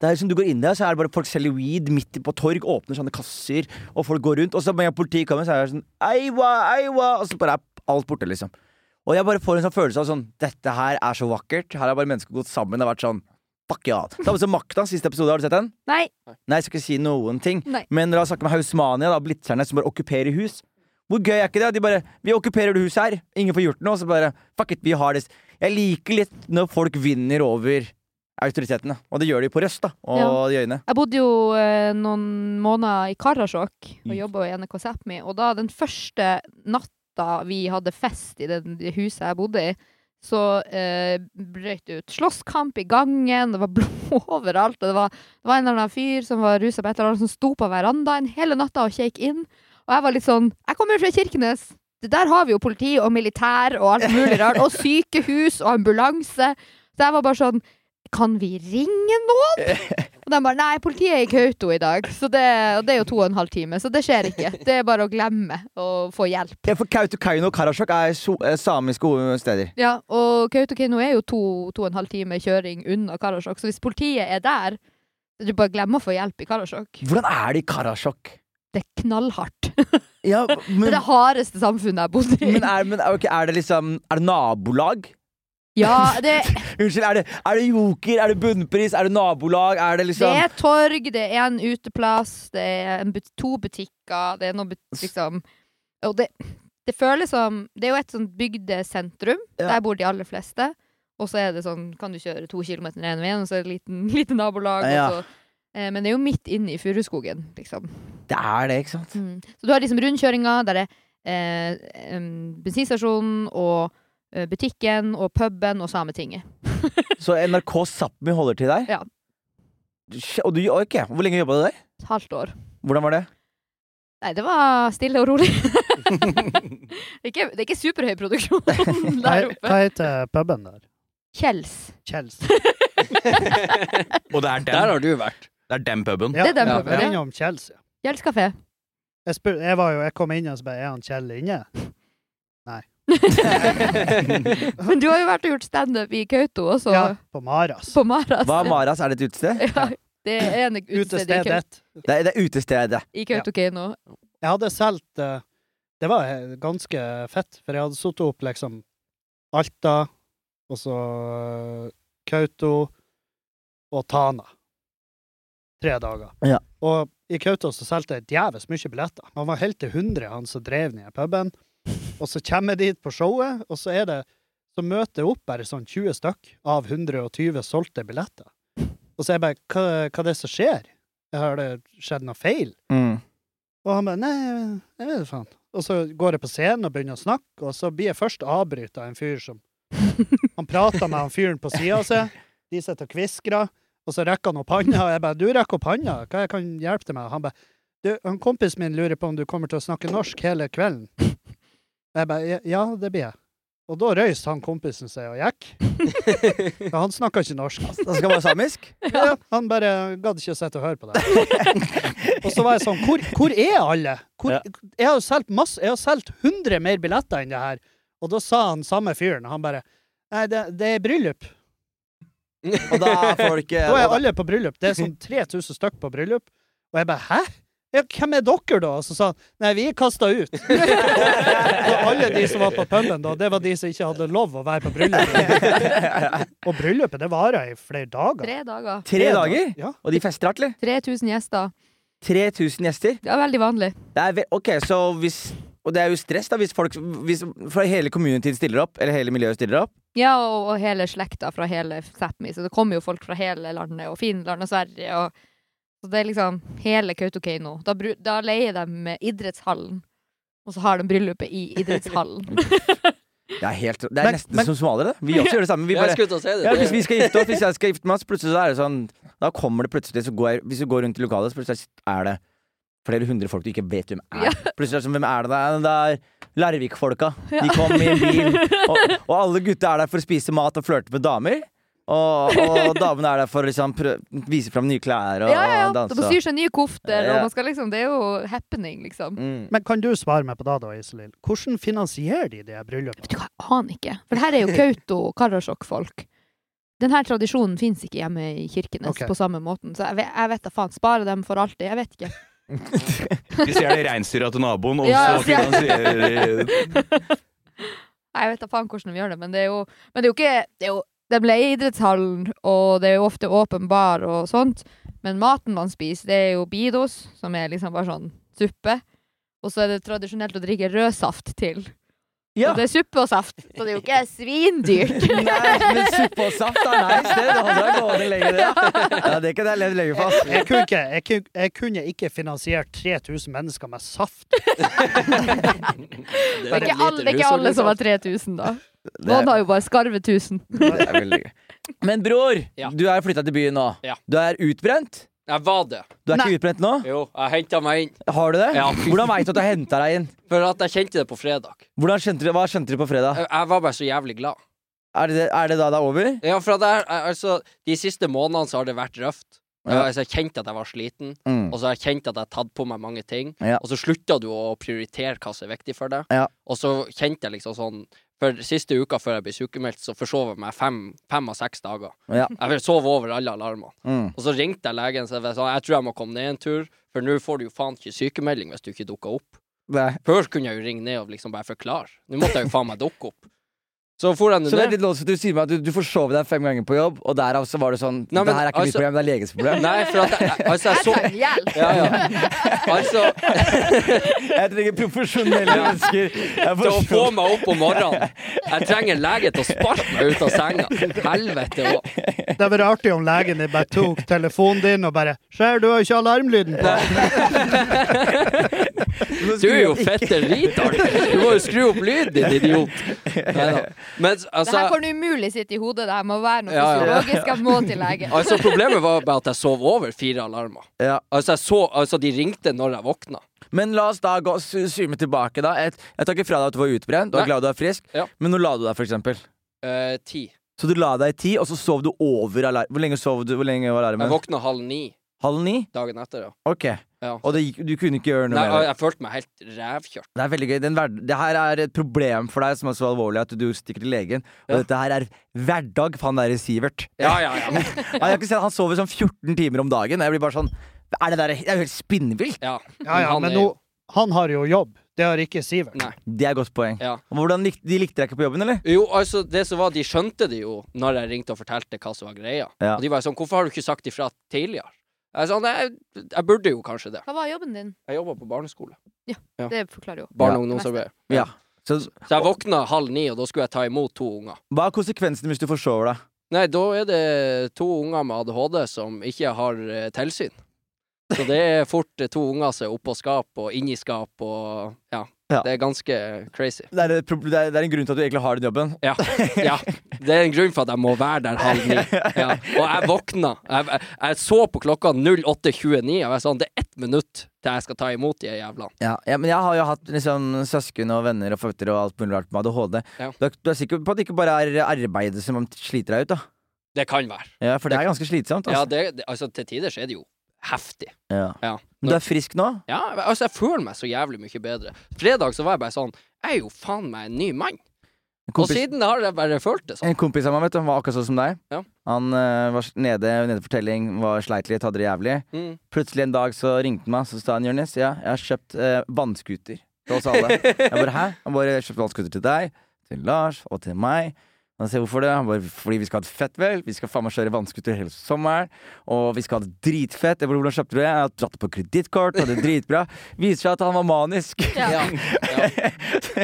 Speaker 2: det er som du går inn der, så er det bare folk selger weed midt på torg, åpner sånne kasser, og folk går rundt, og så med en politi kommer, så er det sånn Eiwa, eiwa, og så bare er alt borte, liksom. Og jeg bare får en sånn følelse av sånn Dette her er så vakkert. Her har bare mennesker gått sammen og vært sånn Fuck ja. Samme som Makta, siste episode, har du sett den?
Speaker 1: Nei.
Speaker 2: Nei, jeg skal ikke si noen ting.
Speaker 1: Nei.
Speaker 2: Men la oss snakke med Hausmania, da, blitzerne som bare okkuperer hus. Hvor gøy er ikke det? De bare 'Vi okkuperer det huset her. Ingen får gjort noe.' Så bare 'Fuck it, vi har det'. Jeg liker litt når folk vinner over autoritetene. Og det gjør de på Røst, da. Og
Speaker 1: Ja.
Speaker 2: de øyene.
Speaker 1: Jeg bodde jo eh, noen måneder i Karasjok og jobba i NRK Sápmi, og da den første natta vi hadde fest i det det huset jeg bodde i, så eh, brøt det ut slåsskamp i gangen, det var blod overalt, og det var, det var en eller annen fyr som var rusa på et eller annet, som sto på verandaen hele natta og ikke gikk inn, og jeg var litt sånn Jeg kommer jo fra Kirkenes! Det Der har vi jo politi og militær og alt mulig rart, og sykehus og ambulanse, så jeg var bare sånn Kan vi ringe og de bare Nei, politiet er i Kautokeino i dag. Så det, og det er jo to og en halv time, så det skjer ikke. Det er bare å glemme og få hjelp.
Speaker 2: Ja, for Kautokeino og Karasjok er so eh, samiske o- steder.
Speaker 1: Ja, Og Kautokeino er jo to, to og en halv time kjøring unna Karasjok, så hvis politiet er der så Du bare glemmer å få hjelp i Karasjok.
Speaker 2: Hvordan er det i Karasjok?
Speaker 1: Det er knallhardt.
Speaker 2: Ja,
Speaker 1: Det
Speaker 2: men,
Speaker 1: er det hardeste samfunnet jeg har bodd i.
Speaker 2: men, er, men ok, er det liksom Er det nabolag?
Speaker 1: Ja, det,
Speaker 2: Unnskyld, er det, er det joker? Er det bunnpris? Er det nabolag? Er det
Speaker 1: det
Speaker 2: liksom
Speaker 1: er torg, det er en uteplass, det er en but to butikker, det er noe but liksom Og det, det føles som Det er jo et sånt bygdesentrum,
Speaker 2: Ja.
Speaker 1: der bor de aller fleste. Og så er det sånn, kan du kjøre to kilometer den ene veien, og så er det liten, lite nabolag.
Speaker 2: Ja.
Speaker 1: Og så, eh, men det er jo midt inne i furuskogen, liksom.
Speaker 2: Det er det, ikke sant?
Speaker 1: Så du har liksom rundkjøringa, der er eh, em, bensinstasjonen og eh, butikken og puben og Sametinget.
Speaker 2: Så NRK Sápmi holder til der?
Speaker 1: Ja.
Speaker 2: Shit, Og du, ok, Hvor lenge jobba du der?
Speaker 1: Et halvt år.
Speaker 2: Hvordan var det?
Speaker 1: Nei, det var stille og rolig. det, er ikke, det er ikke superhøy produksjon
Speaker 3: Hva,
Speaker 1: der oppe.
Speaker 3: hva heter puben der?
Speaker 1: Kjells.
Speaker 3: Kjells.
Speaker 4: Og det er
Speaker 5: Der
Speaker 4: den,
Speaker 5: har du vært.
Speaker 4: det er den puben.
Speaker 3: Ja,
Speaker 1: Det er den
Speaker 3: jeg
Speaker 1: puben, ja.
Speaker 3: var innom Kjells, ja.
Speaker 1: Kjells kafé.
Speaker 3: Jeg, spur, jeg, var jo, jeg kom inn og så bare Er han Kjell inne?
Speaker 1: Men du har jo vært og gjort standup i Kautokeino også,
Speaker 3: Ja, på Maras.
Speaker 1: på Maras.
Speaker 2: Hva er Maras? Er det et utested?
Speaker 1: ja, det er en utested i Kau-
Speaker 3: Utestedet.
Speaker 2: Det er, det er utestedet.
Speaker 1: i Kautokeino.
Speaker 3: Jeg hadde solgt eh, Det var eh, ganske fett, for jeg hadde satt opp liksom Alta, og så eh, Kautokeino og Tana. Tre dager.
Speaker 2: Ja.
Speaker 3: Og i Kautokeino så solgte jeg djevelsk mye billetter. Han var helt til 100, han som drev den i puben. Og så kommer jeg dit på showet, og så er det Så møter jeg opp bare sånn 20 stykk av 120 solgte billetter. Og så er jeg bare Hva, hva er det som skjer? Har det skjedd noe feil? Og han bare Nei, jeg vet da faen. Og så går jeg på scenen og begynner å snakke, og så blir jeg først avbrytet av en fyr som Han prater med han fyren på sida av seg, de sitter og kviskrer, og så rekker han opp handa, og jeg bare 'Du rekker opp handa, hva jeg kan hjelpe deg med?' Og Han bare 'Du, han kompisen min lurer på om du kommer til å snakke norsk hele kvelden.' Jeg bare «Ja, 'Ja, det blir jeg'. Og da røys han kompisen seg og gikk. For han snakka ikke norsk.
Speaker 2: Da skal man være samisk?
Speaker 3: Ja, han bare gadd ikke å sitte og høre på det. og så var jeg sånn Hvor, hvor er alle? Hvor,
Speaker 2: Ja.
Speaker 3: Jeg har jo solgt masse Jeg har solgt 100 mer billetter enn det her. Og da sa han samme fyren, han bare Nei, det, det er bryllup.
Speaker 2: Og da er folk eh,
Speaker 3: Da er
Speaker 2: og
Speaker 3: alle på bryllup. Det er sånn 3000 stykk på bryllup. Og jeg bare Hæ? Ja, hvem er dere, da? Og så sa han Nei, vi er kasta ut. og alle de som var på puben da, det var de som ikke hadde lov å være på bryllupet. og bryllupet, det varer i flere dager.
Speaker 1: Tre dager.
Speaker 2: Tre dager?
Speaker 3: Ja.
Speaker 2: Og de fester artelig?
Speaker 1: 3000 gjester.
Speaker 2: 3000 gjester?
Speaker 1: Det er veldig vanlig.
Speaker 2: Det er ve ok, så hvis Og det er jo stress, da, hvis folk hvis, For hele communityen stiller opp, eller hele miljøet stiller opp.
Speaker 1: Ja, og, og hele slekta fra hele Sápmi. Så det kommer jo folk fra hele landet, og Finland og Sverige og Så det er liksom hele Kautokeino. Da, bru- da leier de idrettshallen, og så har de bryllupet i idrettshallen.
Speaker 2: Det er, helt, det er
Speaker 3: Men-
Speaker 2: nesten
Speaker 3: men-
Speaker 2: som somaliere. Vi også gjør det samme. Vi
Speaker 5: Jeg
Speaker 2: bare,
Speaker 5: skulle til å si det.
Speaker 2: ja, hvis vi
Speaker 5: det.
Speaker 2: skal gifte oss, hvis jeg skal gifte meg, så plutselig så er det sånn Da kommer det plutselig så går, Hvis du går rundt i lokalet, så plutselig er det flere hundre folk du ikke vet hvem er.
Speaker 1: Ja.
Speaker 2: Plutselig er det sånn Hvem er det der? Det er Larvik-folka. De kom i en bil. Og, og alle gutta er der for å spise mat og flørte med damer. Og, og damene er der for å liksom prø vise fram nye klær og,
Speaker 1: Ja, ja, ja.
Speaker 2: og
Speaker 1: De
Speaker 2: danse.
Speaker 1: syr seg nye kofter,
Speaker 2: Ja.
Speaker 1: og man skal liksom Det er jo happening, liksom.
Speaker 2: Mm.
Speaker 3: Men kan du svare meg på det, da, Iselin? Hvordan finansierer de de her
Speaker 1: Vet
Speaker 3: bryllupene?
Speaker 1: du hva, jeg aner ikke. For det her er jo Kautokeino og Karasjok-folk. Denne tradisjonen fins ikke hjemme i Kirkenes
Speaker 3: Ok.
Speaker 1: på samme måten. Så jeg, ve- jeg vet da faen. Sparer dem for alltid? Jeg vet ikke.
Speaker 4: De stjeler reinsdyra til naboen, og
Speaker 1: Ja,
Speaker 4: så
Speaker 1: ja.
Speaker 4: finansierer de
Speaker 1: Jeg vet da faen hvordan de gjør det, men det er jo, men det er jo ikke det er jo, De leier idrettshallen, og det er jo ofte åpen bar og sånt, men maten man spiser, det er jo bidos, som er liksom bare sånn suppe. Og så er det tradisjonelt å drikke rødsaft til.
Speaker 2: Ja.
Speaker 1: Og det er suppe og saft, så det er jo ikke svindyrt.
Speaker 2: Nei, men suppe og saft er nice, det. Det holder deg gående lenger. det. Ja, det kan jeg leve lenge for. ass.
Speaker 3: Jeg kunne, ikke, jeg, kunne, jeg kunne ikke finansiert 3000 mennesker med saft.
Speaker 1: Det er ikke alle, det er ikke alle som har 3000, da. Noen har jo bare skarve 1000.
Speaker 2: Det er veldig gøy. Men bror,
Speaker 5: Ja.
Speaker 2: du er flytta til byen nå.
Speaker 5: Ja.
Speaker 2: Du er utbrent.
Speaker 5: Jeg var det.
Speaker 2: Du er ikke utbrent nå?
Speaker 5: Jo, jeg henta meg inn.
Speaker 2: Har du det?
Speaker 5: Ja.
Speaker 2: Hvordan veit du at jeg henta deg inn?
Speaker 5: For at jeg kjente det på fredag.
Speaker 2: Hvordan skjønte du, hva skjønte du på fredag?
Speaker 5: Jeg, jeg var bare så jævlig glad.
Speaker 2: Er det, er det da det er over?
Speaker 5: Ja, for at jeg, jeg, altså, De siste månedene så har det vært røft. Jeg,
Speaker 2: Ja.
Speaker 5: altså, jeg kjente at jeg var sliten,
Speaker 2: Mm.
Speaker 5: og så har jeg kjent at jeg har tatt på meg mange ting.
Speaker 2: Ja.
Speaker 5: Og så slutta du å prioritere hva som er viktig for deg.
Speaker 2: Ja.
Speaker 5: Og så kjente jeg liksom sånn For siste uka før jeg ble sykemeldt, så forsov jeg meg fem, fem av seks dager.
Speaker 2: Ja.
Speaker 5: Jeg sov over alle alarmene.
Speaker 2: Mm.
Speaker 5: Og så ringte jeg legen og sa jeg tror jeg må komme ned en tur, for nå får du jo faen ikke sykemelding hvis du ikke dukker opp.
Speaker 2: Nei.
Speaker 5: Før kunne jeg jo ringe ned og liksom bare forklare. Nå måtte jeg jo faen meg dukke opp. Så for jeg nå
Speaker 2: Så det er
Speaker 5: ned.
Speaker 2: litt låst, for du sier meg at du, du forsov deg fem ganger på jobb, og derav så var det sånn
Speaker 5: Nei,
Speaker 2: Det
Speaker 5: men
Speaker 2: her er ikke mitt
Speaker 5: altså-
Speaker 2: problem, det er legens problem.
Speaker 5: Nei, for at jeg, altså
Speaker 1: Jeg
Speaker 5: jeg så
Speaker 1: trenger hjelp!
Speaker 5: ja, ja. Altså,
Speaker 2: Jeg trenger profesjonelle mennesker. Jeg
Speaker 5: til å få
Speaker 2: forsov
Speaker 5: meg opp om morgenen Jeg trenger en lege til å sparke meg ut av senga. Helvete òg.
Speaker 3: Det hadde vært artig om legen din bare tok telefonen din og bare 'Ser, du har jo ikke alarmlyden på!'
Speaker 5: Du er jo fette retard. Du må jo skru opp lyden, din idiot. Neida. Men
Speaker 1: Det her
Speaker 5: altså
Speaker 1: kan umulig sitte i hodet. Det her må være noe
Speaker 5: Ja, ja.
Speaker 1: fysiologisk. Jeg må til legen.
Speaker 5: Altså Problemet var bare at jeg sov over fire alarmer.
Speaker 2: Ja.
Speaker 5: Altså, jeg så, altså de ringte når jeg våkna.
Speaker 2: Men la oss da gå sy- syme tilbake, da. Jeg, jeg tar ikke fra deg at du var utbrent, og
Speaker 5: Nei.
Speaker 2: er glad du er frisk,
Speaker 5: Ja.
Speaker 2: men når la du deg, for eksempel?
Speaker 5: Eh, ti.
Speaker 2: Så du la deg ti, og så sov du over alarmen. Hvor lenge sov du? Hvor lenge var
Speaker 5: Jeg
Speaker 2: alarmen?
Speaker 5: våkna halv ni
Speaker 2: Halv ni?
Speaker 5: dagen etter. Ja.
Speaker 2: Ok.
Speaker 5: Ja.
Speaker 2: Og det, gikk- du kunne ikke gjøre noe
Speaker 5: Nei,
Speaker 2: med det?
Speaker 5: jeg, jeg følte meg helt rævkjørt.
Speaker 2: Det er veldig gøy. Den verd det her er et problem for deg som er så alvorlig at du stikker til legen. Og
Speaker 5: Ja.
Speaker 2: dette her er hverdag for han derre Sivert.
Speaker 5: Ja, ja, ja.
Speaker 2: Han, jeg har ikke sett, han sover sånn 14 timer om dagen. og Jeg blir bare sånn er det, der, det er jo helt spinnvilt!
Speaker 5: ja.
Speaker 3: Ja, ja,
Speaker 5: han
Speaker 3: men
Speaker 5: er
Speaker 3: nå,
Speaker 5: jo-
Speaker 3: han har jo jobb. Det har ikke Sivert.
Speaker 5: Nei.
Speaker 2: Det er et godt poeng.
Speaker 5: Ja.
Speaker 2: Og Hvordan lik, De likte deg ikke på jobben, eller?
Speaker 5: Jo, altså, det som var, de skjønte det jo når jeg ringte og fortalte hva som var greia.
Speaker 2: Ja.
Speaker 5: Og de var jo sånn, hvorfor har du ikke sagt ifra tidligere? Jeg sa, nei, jeg burde jo kanskje det.
Speaker 1: Hva var jobben din?
Speaker 5: Jeg jobba på barneskole.
Speaker 1: Det forklarer jo.
Speaker 5: Barne-
Speaker 2: Ja.
Speaker 5: og ungdomsarbeid.
Speaker 2: Ja. Så
Speaker 5: Så jeg våkna halv ni, og da skulle jeg ta imot to unger.
Speaker 2: hva er konsekvensen hvis du forsover deg?
Speaker 5: Nei, da er det to unger med ADHD som ikke har eh, tilsyn. Så det er fort eh, to unger som er oppå skap og inni skap og ja.
Speaker 2: Ja.
Speaker 5: Det er ganske crazy.
Speaker 2: Det er, et prob- det, er, det er en grunn til at du egentlig har den jobben.
Speaker 5: Ja. ja. Det er en grunn for at jeg må være der halv ni. Ja. Og jeg våkna. Jeg, jeg, jeg så på klokka 08.29, og jeg sa det er ett minutt til jeg skal ta imot de jævlene.
Speaker 2: Ja, ja, men jeg har jo hatt liksom, søsken og venner og føtter og alt mulig rart med ADHD.
Speaker 5: Ja.
Speaker 2: Du, er, du er sikker på at det ikke bare er arbeidet som sliter deg ut, da?
Speaker 5: Det kan være.
Speaker 2: Ja, For det er ganske slitsomt.
Speaker 5: Ja,
Speaker 2: Altså.
Speaker 5: det, det, altså, til tider så er det jo heftig.
Speaker 2: Ja.
Speaker 5: Ja.
Speaker 2: Men du er frisk nå?
Speaker 5: Ja, altså, jeg føler meg så jævlig mye bedre. Fredag så var jeg bare sånn Jeg er jo faen meg en ny mann.
Speaker 2: En
Speaker 5: Og
Speaker 2: kompis-
Speaker 5: siden har jeg bare følt det sånn.
Speaker 2: En kompis av meg vet du, han var akkurat sånn som deg.
Speaker 5: Ja.
Speaker 2: Han eh, var s- nede nede for telling, var sleit litt, hadde det jævlig.
Speaker 5: Mm.
Speaker 2: Plutselig en dag så ringte han meg, så sa han Jonis, ja, jeg har kjøpt eh, vannskuter til oss alle. Jeg bare hæ? Han bare jeg har kjøpt vannskuter til deg, til Lars og til meg. Han sier hvorfor det? Han bare fordi vi skal ha det fett, vel. Vi skal faen meg kjøre vannskuter hele sommeren. Og vi skal ha det dritfett. Jeg bare hvordan kjøpte du det? Jeg har dratt det på kredittkort, og det er dritbra. Viser seg at han var manisk.
Speaker 5: Ja. ja.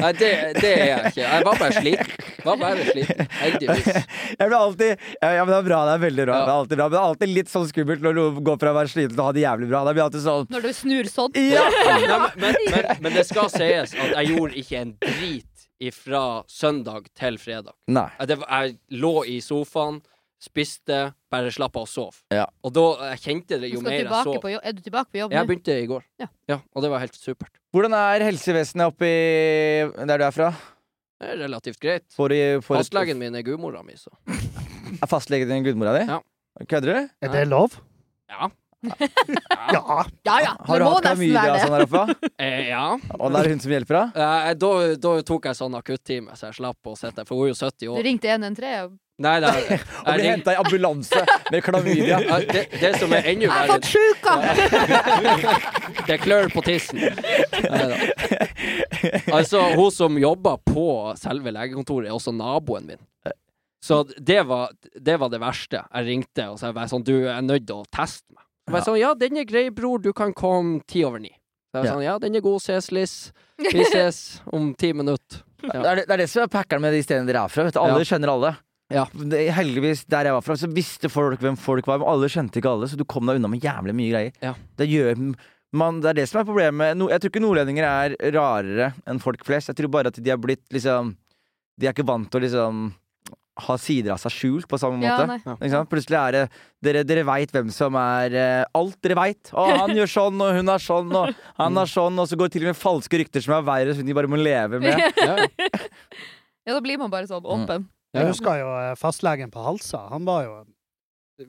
Speaker 5: Nei, det, det er jeg ikke. Jeg var bare sliten. Var bare sliten. Heldigvis.
Speaker 2: Jeg blir alltid ja, ja, men det er bra. Det er veldig bra.
Speaker 5: Ja.
Speaker 2: Det er alltid bra Men det er alltid litt sånn skummelt når noen går fra å være sliten til å ha det jævlig bra. Da blir jeg alltid sånn
Speaker 1: Når du snur sånn.
Speaker 2: Ja!
Speaker 5: Nei, men, men, men, men det skal sies at jeg gjorde ikke en drit ifra søndag til fredag.
Speaker 2: Nei.
Speaker 5: Jeg, det, var- jeg lå i sofaen, spiste, bare slapp av og sov.
Speaker 2: Ja.
Speaker 5: Og da jeg kjente
Speaker 1: Du
Speaker 5: det jo
Speaker 1: skal
Speaker 5: mer jeg
Speaker 1: tilbake
Speaker 5: sov.
Speaker 1: på jobb. Er du tilbake på jobb
Speaker 5: Jeg
Speaker 1: nå?
Speaker 5: begynte i går.
Speaker 1: Ja.
Speaker 5: og det var helt supert.
Speaker 2: Hvordan er helsevesenet oppi der du er fra?
Speaker 5: Det er relativt greit.
Speaker 2: Får du får et-
Speaker 5: Fastlegen min er gudmora mi, så.
Speaker 2: Er fastlegen din gudmora di?
Speaker 5: Ja.
Speaker 2: Kødder du?
Speaker 3: Er det lov?
Speaker 5: Ja.
Speaker 3: Ja.
Speaker 1: Ja ja,
Speaker 2: Har
Speaker 1: det
Speaker 2: du
Speaker 1: må
Speaker 2: hatt
Speaker 1: nesten
Speaker 2: klamydia og
Speaker 1: være det.
Speaker 2: sånn der oppe?
Speaker 5: Eh, ja.
Speaker 2: Og det er hun som hjelper deg?
Speaker 5: Eh, da, da tok jeg sånn akuttime, så jeg slapp å sitte der, for hun er jo 70
Speaker 1: Du
Speaker 5: år.
Speaker 1: ringte 113 og
Speaker 5: Nei, nei, jeg,
Speaker 2: Og blir
Speaker 5: ringte-
Speaker 2: henta i ambulanse med klamydia.
Speaker 5: Ja, det, det som er enda
Speaker 1: Jeg har
Speaker 5: verre,
Speaker 1: fått sjuka!
Speaker 5: det klør på tissen. Neida. Altså, hun som jobber på selve legekontoret, er også naboen min. Så det var det, var det verste. Jeg ringte og så jeg var sånn Du, jeg er nødt til å teste meg. Jeg var sånn, ja, den er grei, bror. Du kan komme ti over ni. Så jeg var
Speaker 2: Ja.
Speaker 5: sånn, ja, den er god. Ses, Liss. Vi ses om ti minutter.
Speaker 2: Det er det, det er det som er packeren med de stedene dere er fra. Vet du. Alle skjønner alle.
Speaker 5: Ja.
Speaker 2: Det, heldigvis, der jeg var fra, så visste folk hvem folk var, men alle skjønte ikke alle, så du kom deg unna med jævlig mye greier.
Speaker 5: Ja.
Speaker 2: Det gjør man, det er det som er problemet. No, jeg tror ikke nordlendinger er rarere enn folk flest. Jeg tror bare at de er blitt liksom De er ikke vant til å liksom ha sider av seg skjult på samme
Speaker 1: Ja,
Speaker 2: måte.
Speaker 1: nei.
Speaker 2: Ikke sant? Plutselig er det Dere, dere veit hvem som er eh, Alt dere veit. Å, han gjør sånn, og hun er sånn, og han
Speaker 5: Mm.
Speaker 2: er sånn, og så går det til og med falske rykter som er verre, som de bare må leve med.
Speaker 5: Ja,
Speaker 1: Ja, da blir man bare sånn åpen.
Speaker 3: Jeg husker jo eh, fastlegen på Halsa. Han var jo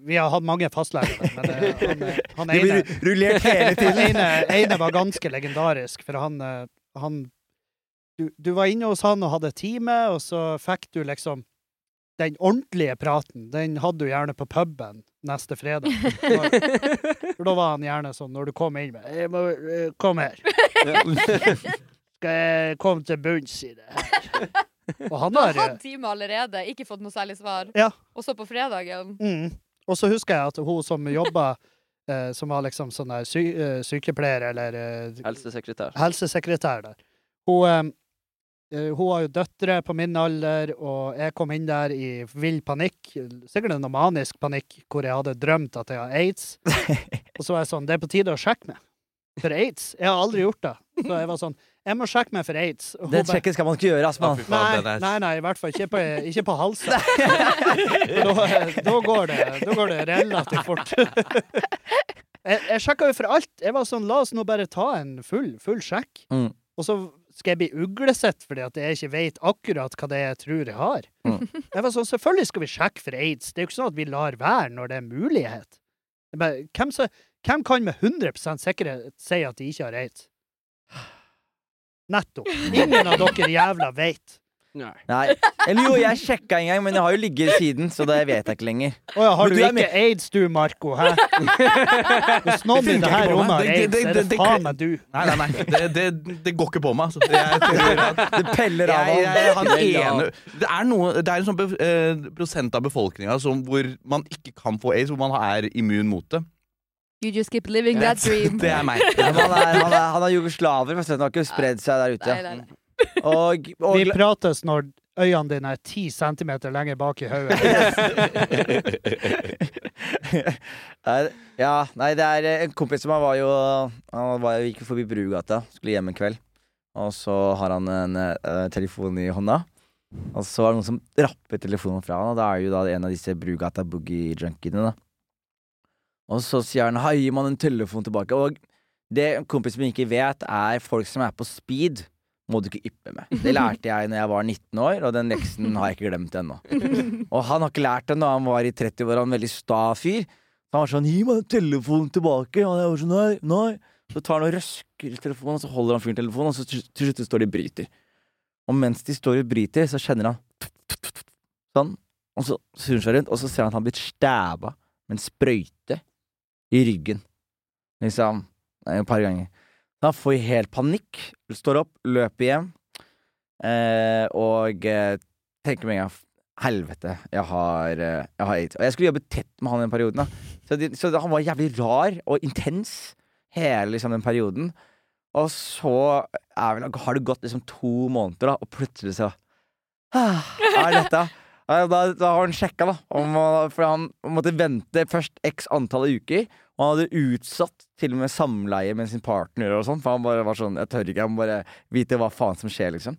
Speaker 3: Vi har hatt mange fastleger, men eh, han, eh, han
Speaker 2: De
Speaker 3: ene
Speaker 2: blir rullert hele
Speaker 3: Den
Speaker 2: tiden.
Speaker 3: ene, ene var ganske legendarisk, for han, eh, han du, du var inne hos han og hadde time, og så fikk du liksom den ordentlige praten. Den hadde du gjerne på puben neste fredag. For da var han gjerne sånn når du kom inn med jeg må, eh, 'Kom her. Skal jeg komme til bunns i det her?' Og han
Speaker 1: Du har
Speaker 3: har eh,
Speaker 1: hatt time allerede, ikke fått noe særlig svar.
Speaker 3: Ja.
Speaker 1: Og så på fredagen
Speaker 3: Mm. Og så husker jeg at hun som jobba, eh, som var liksom sånn der sy eh, sykepleier eller eh,
Speaker 5: Helsesekretær.
Speaker 3: helsesekretær der. Hun, em, eh, hun har jo døtre på min alder, og jeg kom inn der i vill panikk. Sikkert en manisk panikk, hvor jeg hadde drømt at jeg har aids. Og så var jeg sånn, det er på tide å sjekke meg. For aids? Jeg har aldri gjort det. Så jeg var sånn, jeg må sjekke meg for aids. Og hun
Speaker 2: Den
Speaker 3: bare,
Speaker 2: sjekken skal man ikke gjøre, ass, mann.
Speaker 3: Nei, nei, nei, i hvert fall ikke på, ikke på halsen. da, da, går det, da går det relativt fort. jeg jeg sjekka jo for alt. Jeg var sånn, la oss nå bare ta en full, full sjekk.
Speaker 2: Mm.
Speaker 3: Og så Skal jeg bli uglesett fordi at jeg ikke vet akkurat hva det er jeg tror jeg har?
Speaker 2: Mm.
Speaker 3: Jeg var sånn, Selvfølgelig skal vi sjekke for aids. Det er jo ikke sånn at vi lar være når det er mulighet. Jeg bare, hvem, så, hvem kan med 100 sikkerhet si at de ikke har aids? Nettopp. Ingen av dere jævla veit.
Speaker 5: Nei.
Speaker 2: Nei. Eller jo, jeg sjekka en gang, men jeg har jo ligget siden, så det vet jeg ikke lenger.
Speaker 3: Å ja, har
Speaker 2: Men
Speaker 3: du
Speaker 2: du er
Speaker 3: ikke
Speaker 2: med-
Speaker 3: aids du, Marco? Hæ? Hvis noen i
Speaker 4: Det funker
Speaker 3: det her
Speaker 4: ikke på meg.
Speaker 3: rommet har
Speaker 4: Det- det-
Speaker 3: aids,
Speaker 4: det-
Speaker 3: er
Speaker 4: det-
Speaker 3: det
Speaker 4: det-
Speaker 3: faen meg du.
Speaker 4: Nei, nei, nei. Det, det, det går ikke på meg. Altså. Jeg tror at
Speaker 2: Det peller av
Speaker 4: jeg, jeg, han
Speaker 2: Det er
Speaker 4: ene,
Speaker 2: lav.
Speaker 4: det er noe Det er en sånn bef- eh, prosent av befolkninga som, hvor man ikke kan få aids, hvor man er immun mot det.
Speaker 1: You just keep living that dream.
Speaker 4: Det er meg.
Speaker 2: Ja, men Han er, han er, han er jugoslaver, for han har ikke spredd seg der ute.
Speaker 1: Nei, nei, nei.
Speaker 2: Og, og
Speaker 3: Vi prates når øynene dine er ti centimeter lenger bak i hodet.
Speaker 2: Nei, Ja, nei, det er eh, en kompis som han var jo Han var jo, gikk forbi Brugata, skulle hjem en kveld. Og så har han en eh, telefon i hånda. Og så var det noen som rappet telefonen fra han, og da er jo da en av disse Brugata boogie-junkiene, da. Og så sier han 'hei, gir man en telefon tilbake'. Og det kompisen min ikke vet, er folk som er på speed, må du ikke yppe med. Det lærte jeg når jeg var 19 år, og den leksen har jeg ikke glemt ennå. Og han har ikke lært den da han var i 30-åra, en veldig sta fyr. Han var sånn 'gi meg den telefonen tilbake', og jeg var sånn 'nei, nei'. Så tar han og røsker i telefonen, og så holder han fyren telefonen, og så til til slutt så står de og bryter. Og mens de står og bryter, så kjenner han sånn, og så snur han seg rundt, og så ser han at han har blitt stæva med en sprøyte i ryggen. Liksom nei, et par ganger. Så han får jo helt panikk, står opp, løper hjem, eh, og eh, tenker med en gang Helvete, jeg har, eh, jeg har aids. Og jeg skulle jobbe tett med han i den perioden. Da. Så, de, så han var jævlig rar og intens hele liksom, den perioden. Og så er vel, har det gått liksom to måneder, da, og plutselig så ah, Er dette Ja, da, da har han sjekka, da. Om, han- for han måtte vente først x antall uker. Og han hadde utsatt til og med samleie med sin partner, og sånn for han bare var sånn Jeg tør ikke, jeg må bare vite hva faen som skjer, liksom.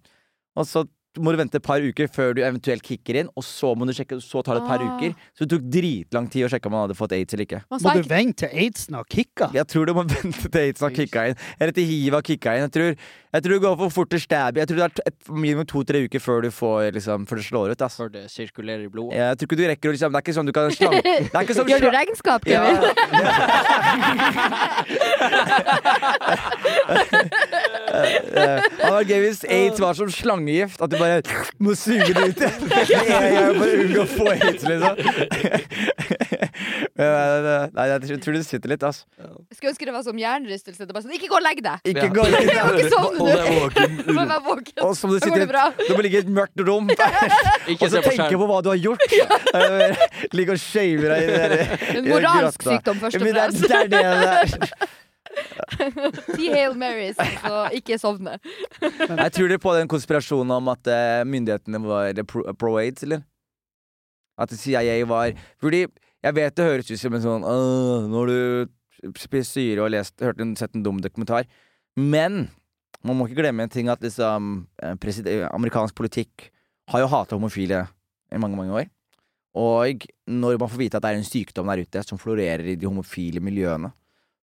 Speaker 2: Og så må du vente et par uker før du eventuelt kicker inn, og så må du sjekke, så tar det et par
Speaker 1: Ah.
Speaker 2: uker. Så det tok dritlang tid å sjekke om han hadde fått aids eller ikke.
Speaker 1: Man sa
Speaker 3: Må du
Speaker 1: ikke-
Speaker 3: vente til aidsen har kicka?
Speaker 2: Jeg tror du må vente til aidsen har kicka inn. Eller til hiv har kicka inn. Jeg tror, jeg tror du går for fort til stabby. Jeg tror det er t- minimum to-tre uker før du får liksom, Før det slår ut. ass.
Speaker 5: Før det sirkulerer i blodet.
Speaker 2: Jeg tror ikke du rekker å liksom Det er ikke sånn du kan slange Det er ikke sånn
Speaker 1: Gjør du regnskap, Kevin?
Speaker 2: Han var gøy hvis aids var som slangegift, at du bare må suge det ut igjen. Med en gang for å unngå å få aids, liksom. Men, eh, Nei, jeg tror det sitter litt, ass.
Speaker 1: Skulle ønske det var som hjernerystelse. Det er bare sånn, ikke gå og legg deg!
Speaker 2: Ikke
Speaker 4: Ja.
Speaker 2: gå
Speaker 1: Jeg må ikke sovne
Speaker 4: sånn. Og det er
Speaker 1: nå!
Speaker 4: våken.
Speaker 1: Bare vær våken.
Speaker 2: Og som du
Speaker 1: Da går
Speaker 2: sitter
Speaker 1: det bra.
Speaker 2: Du må ligge i et mørkt rom og
Speaker 5: Ikke
Speaker 2: så
Speaker 5: se på
Speaker 2: tenke
Speaker 5: skjerm.
Speaker 2: på hva du har gjort. Ligge og shave deg i det der.
Speaker 1: En
Speaker 2: i det
Speaker 1: moralsk
Speaker 2: grotta.
Speaker 1: sykdom, først og
Speaker 2: Men det er-
Speaker 1: fremst.
Speaker 2: Det er det det er.
Speaker 1: Ti Hail Marys, så ikke sovne.
Speaker 2: Jeg tror dere på den konspirasjonen om at eh, myndighetene var pro- pro-aids, eller? At CIA var Fordi jeg vet det høres ut som en sånn «Åh, Når du spiser syre og lest, hørt en, sett en dum dokumentar. Men man må ikke glemme en ting at liksom eh, presid- eh, Amerikansk politikk har jo hata homofile i mange, mange år. Og når man får vite at det er en sykdom der ute som florerer i de homofile miljøene,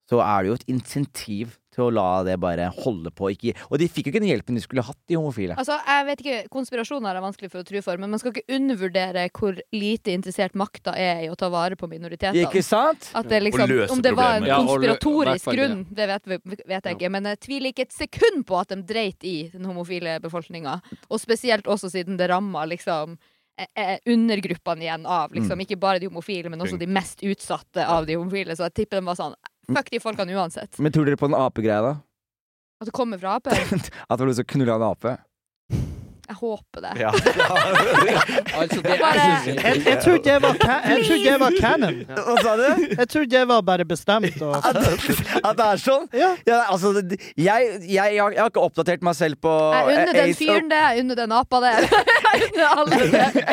Speaker 2: så er det jo et insentiv til å la det bare holde på. Ikke, og de fikk jo ikke den hjelpen de skulle hatt, de homofile.
Speaker 1: Altså, jeg vet ikke, Konspirasjoner er vanskelig for å tro for, men man skal ikke undervurdere hvor lite interessert makta er i å ta vare på minoritetene.
Speaker 2: Ikke sant?
Speaker 1: At det
Speaker 4: Og
Speaker 1: liksom,
Speaker 4: løse
Speaker 1: om det var en
Speaker 4: problemer. Ja,
Speaker 5: og lø- i hvert
Speaker 1: konspiratorisk
Speaker 5: fall det.
Speaker 1: grunn, det vet, vi- vet jeg ikke. Men jeg tviler ikke et sekund på at de dreit i den homofile befolkninga. Og spesielt også siden det ramma liksom, eh, eh, undergruppene igjen av liksom,
Speaker 5: Mm.
Speaker 1: ikke bare de homofile, men også de mest utsatte av de homofile. Så jeg tipper de var sånn Fuck de folkene uansett.
Speaker 2: Men tror dere på den apegreia, da?
Speaker 1: At det kommer fra Ap? Jeg
Speaker 2: At det var noen som knulla en ape?
Speaker 1: håper det.
Speaker 4: Ja.
Speaker 5: Altså, det
Speaker 1: Bare-
Speaker 5: jeg synes
Speaker 3: Jeg,
Speaker 5: ikke-
Speaker 3: jeg trodde jeg var, ca jeg trodde jeg var canon.
Speaker 2: Hva sa du?
Speaker 3: Jeg trodde jeg var bare bestemt. Og,
Speaker 2: At, at det er sånn?
Speaker 3: ja.
Speaker 2: Ja, altså, det- jeg, jeg, jeg, har- jeg har ikke oppdatert meg selv på
Speaker 1: Jeg unner den
Speaker 2: AIDS, og
Speaker 1: fyren det, jeg unner den apa det. Jeg unner alle det.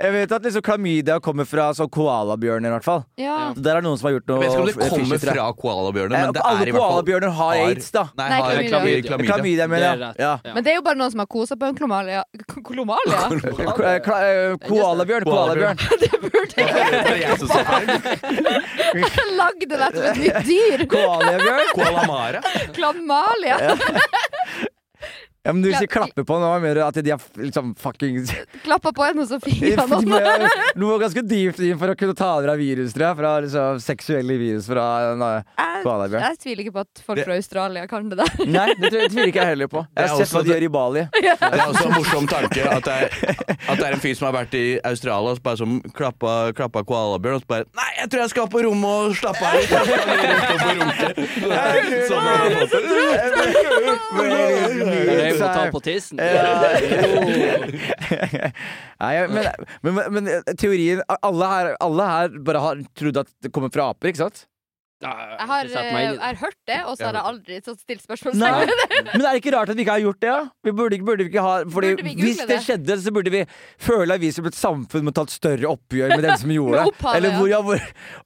Speaker 2: Jeg vet at liksom klamydia kommer fra sånn koalabjørner, i hvert fall.
Speaker 1: Ja.
Speaker 2: Der er noen som har gjort noe
Speaker 4: Jeg vet ikke om det
Speaker 2: f-
Speaker 4: kommer
Speaker 2: fishy, tror jeg.
Speaker 4: fra koalabjørner, men
Speaker 2: Eh,
Speaker 4: det er
Speaker 2: Alle
Speaker 4: i hvert fall
Speaker 2: koalabjørner har aids, da.
Speaker 4: Nei,
Speaker 1: Nei,
Speaker 4: har
Speaker 5: klamydia.
Speaker 4: klamydia.
Speaker 2: Klamydia,
Speaker 5: Det er
Speaker 2: mener jeg.
Speaker 5: rett.
Speaker 2: Ja.
Speaker 5: Ja.
Speaker 1: Men det er jo bare noen som har kosa på en klomalia. K- Klomalia?
Speaker 2: Ko- eh, kla- eh, Koalabjørn, koalabjørn.
Speaker 4: Koalabjørn.
Speaker 1: Det burde jeg
Speaker 4: Det er jeg som sa feil.
Speaker 1: lagd det der som et nytt dyr!
Speaker 2: Koalabjørn.
Speaker 4: Koalamara.
Speaker 1: Klamalia.
Speaker 2: Ja, men du
Speaker 1: Ja,
Speaker 2: sier klappe på nå, mener du at de har f- liksom fucking
Speaker 1: Klappa på henne, og så fikk
Speaker 2: De
Speaker 1: han opp.
Speaker 2: må jo- Du må ganske dypt inn for å kunne ta dere av virus, tror jeg. Fra liksom, seksuelle virus fra nei,
Speaker 1: Jeg,
Speaker 2: Koalabjørn.
Speaker 1: jeg tviler ikke på at folk fra Australia kan det der.
Speaker 2: Nei, det tror jeg- tviler ikke jeg heller på. Jeg har
Speaker 4: Det er
Speaker 2: sett hva
Speaker 4: også
Speaker 2: de gjør i Bali.
Speaker 4: Det er også en morsom tanke at det er, at det er en fyr som har vært i Australia og så bare som klappa, klappa koalabjørn og så bare Nei, jeg tror jeg skal på rommet og slappe av litt. Og så har han gått opp og runket. Det er Sånn han har fått det.
Speaker 5: Røy må ta på tissen. Jo.
Speaker 2: Nei, jeg- men, men, men, men teorien alle her, alle her bare har trodd at det kommer fra aper, ikke sant?
Speaker 1: Jeg har,
Speaker 5: Ikke sett
Speaker 1: eh,
Speaker 5: meg inn i
Speaker 1: jeg
Speaker 5: det.
Speaker 1: har hørt det, og så har jeg aldri sånn stilt spørsmål
Speaker 2: Nei.
Speaker 1: ved det.
Speaker 2: Men er det ikke rart at vi ikke har gjort det? da? Vi burde, ikke- burde vi ikke ha Fordi
Speaker 1: Burde vi google
Speaker 2: Hvis det
Speaker 1: det?
Speaker 2: skjedde, så burde vi føle at vi som et samfunn må ta et større oppgjør med dem som gjorde
Speaker 1: Med
Speaker 2: det.
Speaker 1: opphavet,
Speaker 2: Eller
Speaker 1: ja.
Speaker 2: hvor, ja,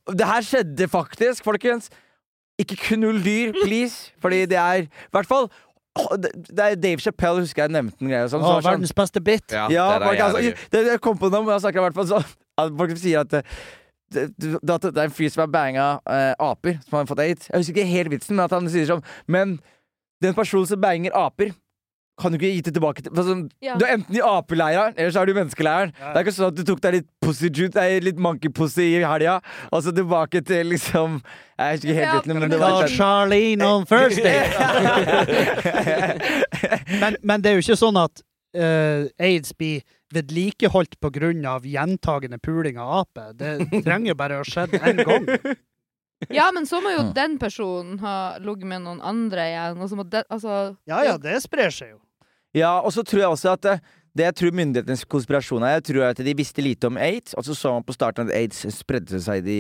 Speaker 2: hvor Det her skjedde faktisk, folkens. Ikke knull dyr, please. Fordi det er I hvert fall å, det, det er Dave Chappelle, husker jeg nevnte en greie. og Sånn,
Speaker 3: Å,
Speaker 2: som var sånn,
Speaker 3: verdens beste bit!
Speaker 4: Ja,
Speaker 2: Ja,
Speaker 4: det er
Speaker 2: folk,
Speaker 4: jævla
Speaker 2: altså,
Speaker 4: gøy.
Speaker 2: det, jeg kom på noe, men jeg snakker i hvert fall sånn at folk sier at eh, det, det- at det er en fyr som har banga eh, aper, som har fått aids. Jeg husker ikke helt vitsen, men at han sier sånn Men den personen som banger aper, kan du ikke gi det tilbake til altså,
Speaker 1: Ja.
Speaker 2: Du er enten i apeleiren, eller så er du i menneskeleiren.
Speaker 3: Ja.
Speaker 2: Det er ikke sånn at du tok deg litt pussy juice, nei, litt monkey pussy i helga, og så tilbake til liksom Jeg husker ikke helt
Speaker 1: Ja,
Speaker 2: vitsen, men
Speaker 1: men
Speaker 2: det
Speaker 3: Call
Speaker 2: var
Speaker 3: Charlene on Thursday! men, men det er jo ikke sånn at eh, aids blir vedlikeholdt pga. gjentagende puling av aper. Det trenger jo bare å skje én gang.
Speaker 1: Ja, men så må jo den personen ha ligget med noen andre igjen, og så må den Altså
Speaker 3: Ja ja, det sprer seg jo.
Speaker 2: Ja, og så tror jeg også at eh, det jeg tror myndighetenes konspirasjon er, jeg tror at de visste lite om aids, og så så man på starten at aids spredde seg i de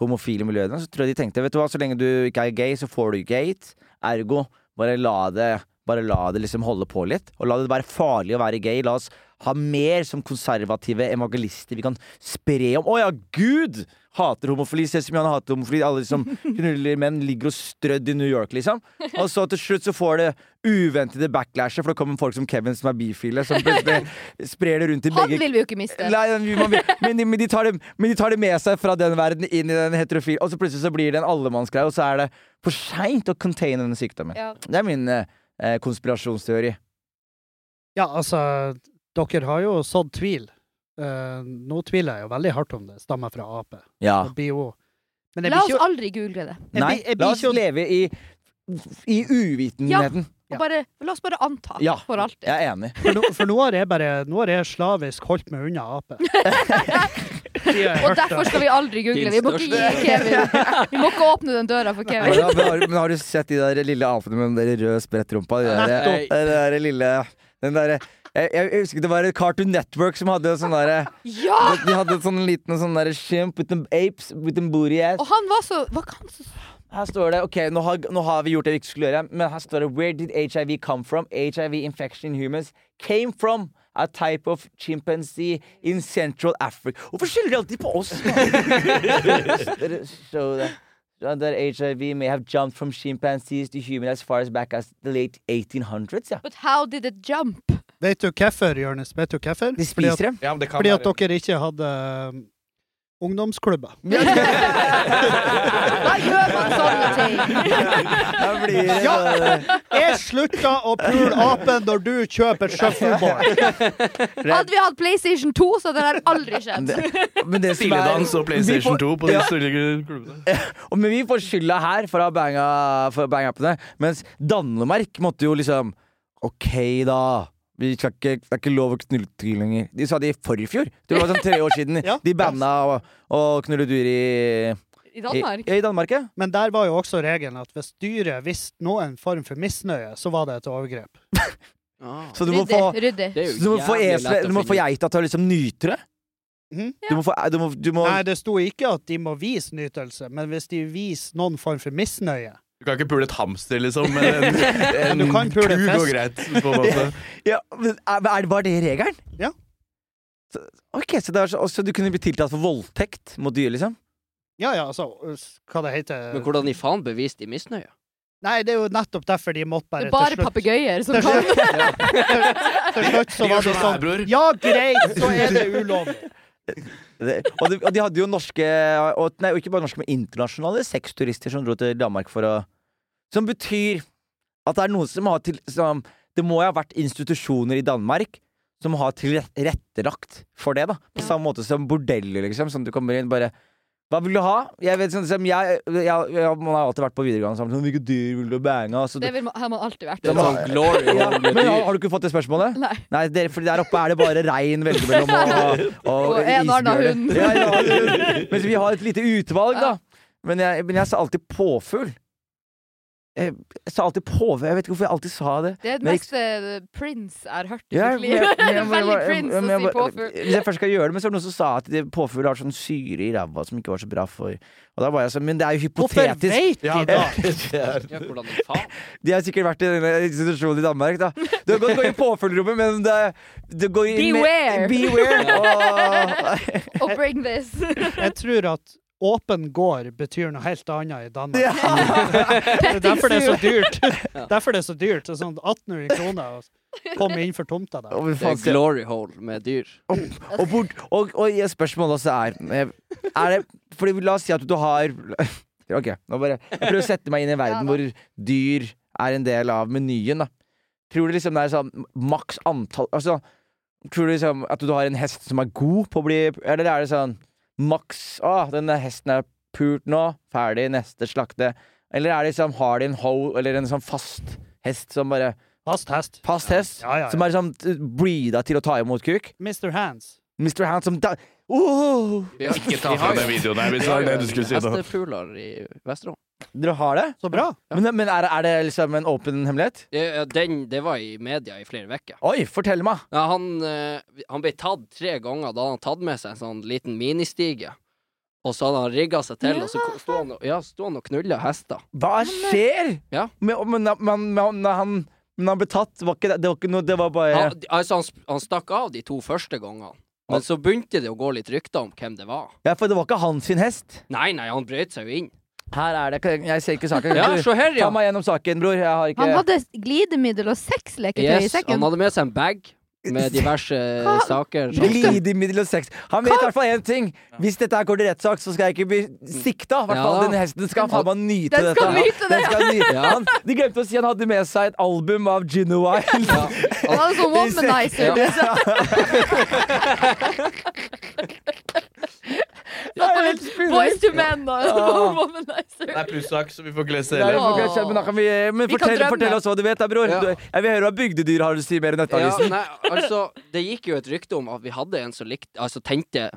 Speaker 2: homofile miljøene, så tror jeg de tenkte, vet du hva, så lenge du ikke er gay, så får du ikke aids, ergo, bare la det, bare la det liksom holde på litt, og la det være farlig å være gay, la oss ha mer som konservative evangelister vi kan spre om. Å ja, Gud hater homofili, se som han hater homofili, alle som knuller menn ligger og strødd i New York, liksom. Og så til slutt så får det uventede backlashet, for det kommer folk som Kevin som er bifile, som plutselig sprer det rundt i
Speaker 1: Han
Speaker 2: begge
Speaker 1: vil vi jo ikke miste.
Speaker 2: Nei, den- man, vil- men, de, men, de tar det, men de tar det med seg fra den verden inn i den heterofile, og så plutselig så blir det en allemannsgreie, og så er det for seint å containe denne sykdommen.
Speaker 1: Ja.
Speaker 2: Det er min eh, eh, konspirasjonsteori.
Speaker 3: Ja, altså, dere har jo sådd tvil. Eh, nå tviler jeg jo veldig hardt om det stammer fra ape.
Speaker 2: Ja.
Speaker 3: Det blir jo- Men jeg
Speaker 1: La
Speaker 3: blir
Speaker 1: oss
Speaker 3: ikke
Speaker 1: aldri google det.
Speaker 3: jeg
Speaker 2: Nei,
Speaker 3: blir- jeg blir
Speaker 2: la oss
Speaker 3: ikke-
Speaker 2: leve i, i uvitenheten.
Speaker 1: Og
Speaker 3: Ja.
Speaker 1: bare, la oss bare anta
Speaker 2: Ja.
Speaker 1: for alltid.
Speaker 2: Jeg er enig.
Speaker 3: For, nå- for nå har jeg bare Nå har jeg slavisk holdt meg unna ape. De har jeg
Speaker 1: Og
Speaker 3: hørt
Speaker 1: derfor
Speaker 3: om.
Speaker 1: skal vi aldri google.
Speaker 5: Din
Speaker 1: Vi må ikke gi
Speaker 5: største-
Speaker 1: Kevin Vi må ikke åpne den døra for
Speaker 2: Men
Speaker 1: Kevin.
Speaker 2: har, men har, men har du sett de der lille apene med den der røde sprettrumpa? De der,
Speaker 5: Nettopp.
Speaker 2: eh, den der lille den der, jeg, jeg husker det var Cartoon Network som hadde sånn derre
Speaker 1: Ja!
Speaker 2: De hadde sånn liten sånn derre skimp with an apes with a booty ass.
Speaker 1: Og han var så Var ikke han så
Speaker 2: Her står det, ok, nå har, nå har vi gjort det vi ikke skulle gjøre, men her står det Where did HIV come from? HIV infection in humans came from a type of chimpanzee in Central Africa. Hvorfor skylder de alltid på oss? Dere så det. Uh, That HIV may have jumped from chimpanzees to humans as far as back as the late 1800s. Ja.
Speaker 1: But how did it jump?
Speaker 3: Vet du hvorfor, Jonis? Vet du hvorfor?
Speaker 2: De
Speaker 3: Fordi at-
Speaker 2: spiser dem.
Speaker 4: Ja, men det kan
Speaker 3: Fordi at
Speaker 4: være.
Speaker 3: dere ikke hadde um, ungdomsklubber.
Speaker 1: Da gjør man sånne ting!
Speaker 2: Da blir det-
Speaker 3: Jeg slutta å pule apen når du kjøper shuffleboard!
Speaker 1: Hadde vi hatt PlayStation 2, så hadde det her aldri skjedd.
Speaker 2: Men det som er-
Speaker 4: Stiledans og
Speaker 2: Vi
Speaker 4: PlayStation
Speaker 2: får-
Speaker 4: 2 på den
Speaker 2: Ja.
Speaker 4: store klubben.
Speaker 2: Og- Men vi får skylda her for å ha banga, for å ha banga på det. Mens Danmark måtte jo liksom OK, da. Vi skal ikke, det er ikke lov å knulle dyr lenger. De sa det i forfjor. Det var sånn tre år siden.
Speaker 3: Ja.
Speaker 2: De banna å- å knulle dyr i
Speaker 1: I
Speaker 2: I,
Speaker 1: Danmark.
Speaker 2: ja, i Danmark, ja.
Speaker 3: Men der var jo også regelen at hvis dyret visste noen form for misnøye, så var det et overgrep.
Speaker 5: Ah,
Speaker 2: Så du må
Speaker 1: Ryddig.
Speaker 2: få
Speaker 1: Ryddig.
Speaker 5: det er jo
Speaker 2: så du må få,
Speaker 5: jævlig
Speaker 2: esle-
Speaker 5: lett å
Speaker 2: du må få
Speaker 5: finne.
Speaker 2: geita til å liksom nyte det.
Speaker 3: Mhm.
Speaker 2: Du må få du må, du må,
Speaker 3: Nei, det sto ikke at de må vise nytelse, men hvis de viser noen form for misnøye
Speaker 4: Du kan ikke pule et hamster, liksom. Men en, en
Speaker 3: Du kan pule en
Speaker 4: ku går
Speaker 3: fisk.
Speaker 4: greit. På en måte.
Speaker 2: ja, men er, er, Var det regelen?
Speaker 3: Ja.
Speaker 2: Så, ok, så, det er, så, og så du kunne bli tiltalt for voldtekt mot dyr, liksom?
Speaker 3: Ja ja, altså, hva det heter
Speaker 5: Men hvordan i faen beviste de misnøye?
Speaker 3: Nei, det er jo nettopp derfor de måtte
Speaker 1: Det
Speaker 3: bare
Speaker 1: er bare papegøyer som
Speaker 3: Til
Speaker 1: kan
Speaker 3: slutt, til slutt
Speaker 4: De
Speaker 3: så var
Speaker 4: gjør sånn
Speaker 3: det
Speaker 4: her,
Speaker 3: sånn
Speaker 4: bror.
Speaker 3: Ja, greit, så er det ulovlig.
Speaker 2: Det, og, de, og de hadde jo norske og, Nei, og ikke bare norske, men internasjonale sexturister som dro til Danmark for å Som betyr at det er noen som har til, som, Det må jo ha vært institusjoner i Danmark som har tilrettelagt for det, da. På
Speaker 1: Ja.
Speaker 2: samme måte som bordeller, liksom. Sånn at du kommer inn bare Hva vil du ha? Jeg vet sånn som jeg, jeg, jeg Man har alltid vært på videregående sammen sånn Hvilke dyr vil du bange? Altså,
Speaker 1: Det vil, man- har man alltid vært.
Speaker 5: Det er sånn glory
Speaker 2: ja,
Speaker 5: hole
Speaker 2: men
Speaker 5: med
Speaker 2: har,
Speaker 5: dyr.
Speaker 2: har du ikke fått det spørsmålet?
Speaker 1: Nei.
Speaker 2: Nei, der, fordi der oppe er det bare rein velge mellom og, og,
Speaker 1: Og en annen
Speaker 2: isbjørner.
Speaker 1: hund.
Speaker 2: Ja, en annen hund. Mens vi har et lite utvalg, da. Men jeg, men jeg sa alltid påfugl. Jeg, jeg sa alltid påfugl. Jeg vet ikke hvorfor jeg alltid sa det.
Speaker 1: Det er det
Speaker 2: Men-
Speaker 1: meste Prince jeg har hørt i
Speaker 2: Ja,
Speaker 1: mitt
Speaker 2: men-
Speaker 1: liv.
Speaker 2: men-
Speaker 1: Det er
Speaker 2: men-
Speaker 1: Veldig
Speaker 2: men-
Speaker 1: Prince
Speaker 2: men-
Speaker 1: å si påfugl.
Speaker 2: Hvis jeg først skal gjøre det, men så var det noen som sa at det- påfugl har sånn syre i ræva som ikke var så bra for Og da var jeg sånn, men det er jo
Speaker 3: Hvorfor
Speaker 2: hypotetisk.
Speaker 3: vet de det?
Speaker 5: Ja, hvordan i faen?
Speaker 2: De har sikkert vært i denne institusjonen i Danmark, da. Du kan godt gå i påfuglrommet, men det, det går i
Speaker 1: Beware.
Speaker 2: beware. Og,
Speaker 1: Og bring this!
Speaker 3: Jeg tror at åpen gård betyr noe helt annet i Danmark.
Speaker 2: ja.
Speaker 3: Det er derfor det er så dyrt. Derfor det er så dyrt. Det er sånn 1800 kroner å komme inn for tomta der.
Speaker 2: Og, vi
Speaker 5: Det er
Speaker 2: fant det.
Speaker 5: glory hole med dyr.
Speaker 2: og, bort, og, og jeg- spørsmålet også er eh, Er det Fordi la oss si at du har Ok, nå bare Jeg prøver å sette meg inn i en verden
Speaker 1: Ja da.
Speaker 2: hvor dyr er en del av menyen, da. Tror du liksom det er sånn maks antall Altså, tror du liksom at du har en hest som er god på å bli Eller er det sånn maks Å, denne hesten er pult nå. Ferdig, neste slakte. Eller er det liksom har de en hoe eller en sånn fast hest som bare
Speaker 3: Fast hest.
Speaker 2: Fast hest?
Speaker 3: Ja, ja, ja.
Speaker 2: Som er sånn eh, breeda til å ta imot kuk?
Speaker 3: Mr. Hands.
Speaker 2: Mr. Hand som da Åh!
Speaker 5: Vi har,
Speaker 4: Ikke ta fra den videoen der, hvis det var det du skulle si nå.
Speaker 5: Hestepuler i Vesterålen.
Speaker 2: Dere har det?
Speaker 3: Så bra.
Speaker 2: Men, men er, er det liksom en åpen hemmelighet?
Speaker 5: Ja, Den, det var i media i flere uker.
Speaker 2: Oi, fortell meg!
Speaker 5: Ja, han, eh, han ble tatt tre ganger da han hadde tatt med seg en sånn liten ministige. Og så hadde han rigga seg til, og så ko- sto han, og- ja, sto han og knulla hester.
Speaker 2: Hva skjer?
Speaker 5: Ja.
Speaker 2: Men, men, men, men, han, men han ble tatt, var ikke det, det var ikke noe Det var bare
Speaker 5: Han, altså, han, sp- han stakk av de to første gangene, men så begynte det å gå litt rykter om hvem det var.
Speaker 2: Ja, for det var ikke hans sin hest.
Speaker 5: Nei, nei, han brøt seg jo inn.
Speaker 2: Her er det ikke- Jeg ser ikke saken.
Speaker 5: Ja,
Speaker 2: Du,
Speaker 5: se her, ja.
Speaker 2: Ta meg gjennom saken, bror. Jeg har ikke
Speaker 1: Han hadde glidemiddel og sexleketøy i
Speaker 5: Yes, han
Speaker 1: sekken.
Speaker 5: hadde med seg en bag med diverse
Speaker 1: Hva?
Speaker 5: saker.
Speaker 2: Glidemiddel og sex. Han vet i hvert fall én ting. Hvis dette her går til rettssak, så skal jeg ikke bli sikta. I hvert
Speaker 5: Ja
Speaker 2: fall
Speaker 5: da.
Speaker 2: den hesten skal faen meg nyte
Speaker 1: Den
Speaker 2: dette.
Speaker 1: skal
Speaker 2: her.
Speaker 1: nyte
Speaker 2: Den
Speaker 1: det.
Speaker 2: skal nyte. Han, de glemte å si han hadde med seg et album av Gin and Wild.
Speaker 5: Ja.
Speaker 1: Han hadde sånn womanizer.
Speaker 5: Ja.
Speaker 1: Satt
Speaker 2: Det er
Speaker 1: med
Speaker 2: helt spinnvilt.
Speaker 1: Boys to men og
Speaker 2: Ja.
Speaker 1: womanizer.
Speaker 4: Det er plussak, så vi får ikke lese det
Speaker 2: Nei,
Speaker 4: heller.
Speaker 1: Åh.
Speaker 2: det får ikke skje, men da kan vi, eh, men
Speaker 1: Vi kan
Speaker 2: fortell,
Speaker 1: drømme.
Speaker 2: fortell oss hva du vet, da, bror.
Speaker 5: Ja.
Speaker 2: Du, jeg vil høre hva bygdedyr har å si mer i
Speaker 5: Ja,
Speaker 2: Nettavisen.
Speaker 5: nei, altså, det gikk jo et rykte om at vi hadde en som likte Altså tenkte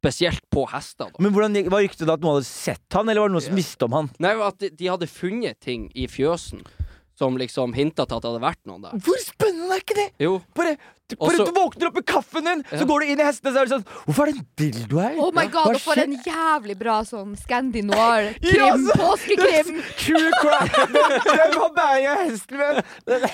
Speaker 5: spesielt på hester, da.
Speaker 2: Men hvordan, gikk- Var ryktet da at noen hadde sett han, eller var det noen som
Speaker 5: Ja.
Speaker 2: visste om han?
Speaker 5: Nei, at de, de hadde funnet ting i fjøsen som liksom hinta til at det hadde vært noen der.
Speaker 2: Hvor spennende er ikke det?
Speaker 5: Jo.
Speaker 2: Bare, du,
Speaker 5: Og
Speaker 2: bare
Speaker 5: så-
Speaker 2: du våkner opp med kaffen din,
Speaker 5: Ja.
Speaker 2: så går du inn i hestene, så er det sånn Hvorfor er det en dildo her?
Speaker 1: Oh my god,
Speaker 2: Hva
Speaker 1: og for en
Speaker 2: skjer?
Speaker 1: jævlig bra sånn Scandi noir-krim.
Speaker 2: Ja, altså,
Speaker 1: Påskekrim.
Speaker 2: True crime! Hvem har bæring av hesten min? Den-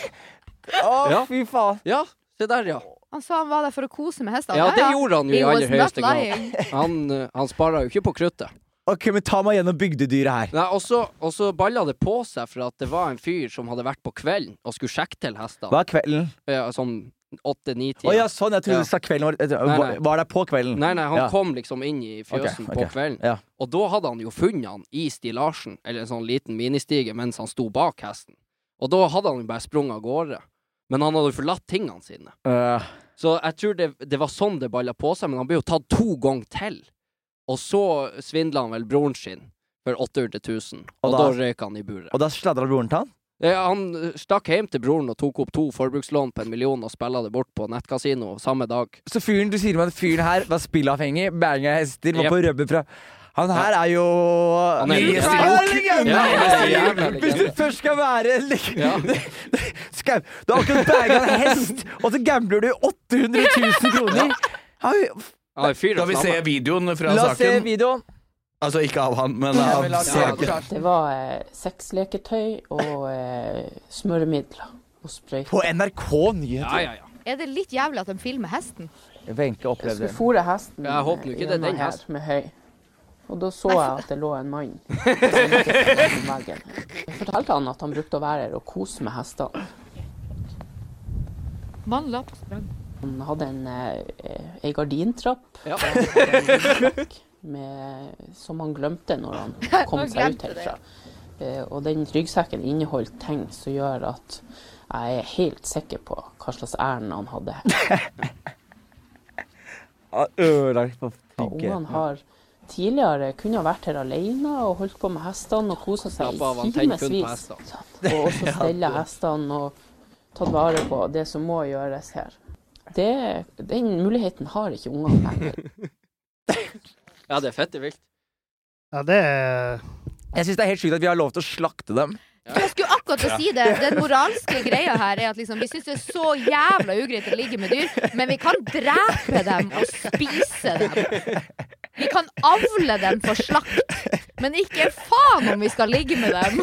Speaker 2: Å,
Speaker 5: Ja.
Speaker 2: fy faen.
Speaker 5: Ja, se der, ja.
Speaker 1: Han sa han var der for å kose med hestene.
Speaker 5: Ja, det gjorde han jo i
Speaker 1: He was
Speaker 5: aller
Speaker 1: not
Speaker 5: høyeste grad.
Speaker 1: lying.
Speaker 5: Han, eh, han spara jo ikke på kruttet.
Speaker 2: Ok, men Ta meg gjennom bygdedyret her.
Speaker 5: Nei, og så- Og så balla det på seg for at det var en fyr som hadde vært på kvelden og skulle sjekke til hestene.
Speaker 2: Hva er kvelden?
Speaker 5: Ja, sånn åtte-ni-tida.
Speaker 2: Å ja, sånn. Jeg trodde
Speaker 5: Ja.
Speaker 2: du sa kvelden var
Speaker 5: Nei, nei.
Speaker 2: Var der på kvelden?
Speaker 5: Nei, nei, han
Speaker 2: Ja.
Speaker 5: kom liksom inn i fjøsen
Speaker 2: Ok,
Speaker 5: på
Speaker 2: ok.
Speaker 5: kvelden.
Speaker 2: Ja.
Speaker 5: Og da hadde han jo funnet han i stillasjen, eller en sånn liten ministige, mens han sto bak hesten. Og da hadde han jo bare sprunget av gårde. Men han hadde jo forlatt tingene sine.
Speaker 2: Øh.
Speaker 5: Så jeg tror det, det var sånn det balla på seg, men han ble jo tatt to ganger til. Og så svindla han vel broren sin for 800 000, og,
Speaker 2: Og
Speaker 5: da,
Speaker 2: da-
Speaker 5: røyk han i buret.
Speaker 2: Og da sladra broren til han?
Speaker 5: Ja, han eh, stakk hjem til broren og tok opp to forbrukslån på en million og spilla det bort på nettkasino samme dag.
Speaker 2: Så fyren du sier meg at fyren her var spillavhengig, banga hester, var
Speaker 5: Yep.
Speaker 2: på rødbet fra Han her er jo
Speaker 5: Han er jo-
Speaker 2: Yes, han er legende!
Speaker 5: Ja, han er jævla
Speaker 2: Hvis du
Speaker 5: legende.
Speaker 2: først skal være en leg-
Speaker 5: Ja.
Speaker 2: Skau, Du har akkurat banga en hest, og så gambler du 800 000 kroner! Har vi-
Speaker 5: Han er fyr
Speaker 4: Skal
Speaker 5: av
Speaker 4: vi se
Speaker 5: flamme.
Speaker 4: videoen fra
Speaker 2: La oss se
Speaker 4: saken?
Speaker 2: videoen.
Speaker 4: Altså ikke av han, men av saken.
Speaker 6: Det var eh, sexleketøy og eh, smøremidler og sprøyter.
Speaker 2: På NRK
Speaker 5: Ja,
Speaker 2: Nyheter.
Speaker 5: ja, ja.
Speaker 1: Er det litt jævlig at de filmer hesten?
Speaker 2: Wenche
Speaker 6: Jeg
Speaker 2: opplevde
Speaker 6: skulle
Speaker 2: det.
Speaker 6: fôre hesten
Speaker 5: Jeg håper jo ikke det er
Speaker 6: hjemme
Speaker 5: den
Speaker 6: her
Speaker 5: hesten.
Speaker 6: med høy. Og da så jeg at det lå en mann som ikke satt på veggen. Jeg fortalte han at han brukte å være her og kose med hestene.
Speaker 1: Mann la på sprang.
Speaker 6: Han hadde en, eh, ei gardintrapp
Speaker 5: Ja.
Speaker 6: og en med, som han glemte når han kom
Speaker 1: Han
Speaker 6: seg ut
Speaker 1: glemte det.
Speaker 6: herfra. Eh, Og den ryggsekken inneholdt ting som gjør at jeg er helt sikker på hva slags ærend han hadde.
Speaker 2: Ah, Ødelagt på
Speaker 6: Og Ungene har tidligere kunnet ha vært her alene og holdt på med hestene og kosa seg
Speaker 5: Slapp av,
Speaker 6: i
Speaker 5: han tenker kun på
Speaker 6: timevis.
Speaker 5: hester.
Speaker 6: Og også stelle hestene og tatt vare på det som må gjøres her. Det, den muligheten har ikke ungene lenger.
Speaker 5: Ja, det er fette vilt.
Speaker 3: Ja, det er
Speaker 2: Jeg syns det er helt sjukt at vi har lov til å slakte dem.
Speaker 1: Jeg skulle akkurat til å si det. Den moralske greia her er at liksom, vi syns det er så jævla ugreit å ligge med dyr, men vi kan drepe dem og spise dem. Vi kan avle dem for slakt, men ikke faen om vi skal ligge med dem.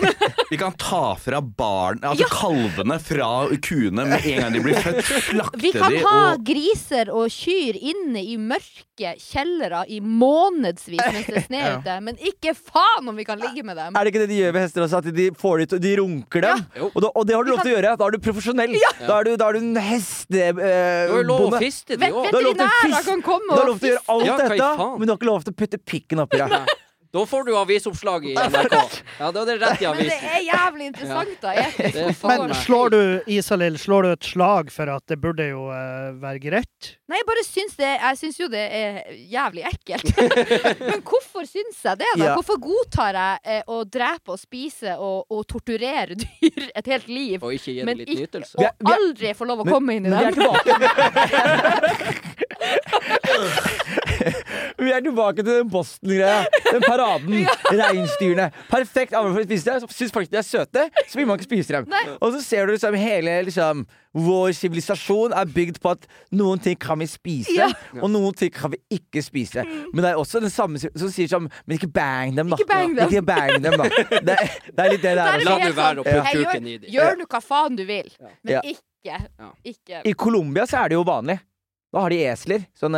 Speaker 4: Vi kan ta fra barn, altså kalvene fra kuene med en gang de blir født. Slakte
Speaker 1: Vi kan
Speaker 4: de
Speaker 1: ha
Speaker 4: og
Speaker 1: griser og kyr inne i mørke kjellere i månedsvis mens det er snø ute, men ikke faen om vi kan ligge med dem.
Speaker 2: Er det ikke det de gjør med hester også? At de, får de, til- de runker dem?
Speaker 5: Mm. Jo.
Speaker 2: Og, da, og det har du lov til å gjøre. Da er du profesjonell. Da, er du, da er du en Eh,
Speaker 5: Det var jo lov å
Speaker 2: hestebonde.
Speaker 5: fiste de
Speaker 1: Vet-
Speaker 5: òg.
Speaker 2: du har lov til å
Speaker 1: Veterinærer
Speaker 2: fis-
Speaker 1: kan
Speaker 2: du
Speaker 1: komme
Speaker 2: har
Speaker 1: og
Speaker 2: lov til å gjøre alt
Speaker 5: Ja, hva i
Speaker 2: dette,
Speaker 5: faen?
Speaker 2: men du har ikke lov til å putte pikken oppi deg.
Speaker 5: Da får du avisoppslag i NRK. Ja, da er det rett i
Speaker 1: Men det
Speaker 5: avisen.
Speaker 1: er jævlig interessant, da. Etisk.
Speaker 5: Det er faen
Speaker 3: Men
Speaker 5: meg
Speaker 3: slår du, Isalill, slår du et slag for at det burde jo eh, være greit?
Speaker 1: Nei, jeg bare syns det Jeg syns jo det er jævlig ekkelt. Men hvorfor syns jeg det, da?
Speaker 2: Ja.
Speaker 1: Hvorfor godtar jeg eh, å drepe og spise og, og torturere dyr et helt liv,
Speaker 5: Og ikke gi det
Speaker 1: men
Speaker 5: litt
Speaker 1: ikke,
Speaker 5: nytelse.
Speaker 2: Vi er- vi
Speaker 1: og
Speaker 2: er-
Speaker 1: aldri få lov å komme inn i
Speaker 2: Men vi er
Speaker 1: dem?
Speaker 2: tilbake Vi er tilbake til den Boston-greia. Den paraden. Reinsdyrene. Perfekt avl for å spise dem. Syns folk de er søte, så vil man ikke spise dem. Og så ser du liksom hele liksom, Vår sivilisasjon er bygd på at noen ting kan vi spise,
Speaker 1: Ja. Mm.
Speaker 2: og noen ting kan vi ikke spise. Men det er også den samme si- som sier sånn Men ikke bang dem, da.
Speaker 1: Ikke bang dem.
Speaker 2: Ikke bang dem, da. Det, er- det er litt det det
Speaker 1: Da
Speaker 2: er.
Speaker 1: er det
Speaker 5: La
Speaker 2: også.
Speaker 1: helt
Speaker 5: nå være å putte
Speaker 1: «Hei,
Speaker 5: kuken i
Speaker 1: gjør,
Speaker 5: de».
Speaker 1: gjør nå hva faen du vil, men
Speaker 2: Ja.
Speaker 1: ikke
Speaker 5: Ja.
Speaker 1: Ikke
Speaker 2: I Colombia så er det jo vanlig. Da har de esler. Sånne,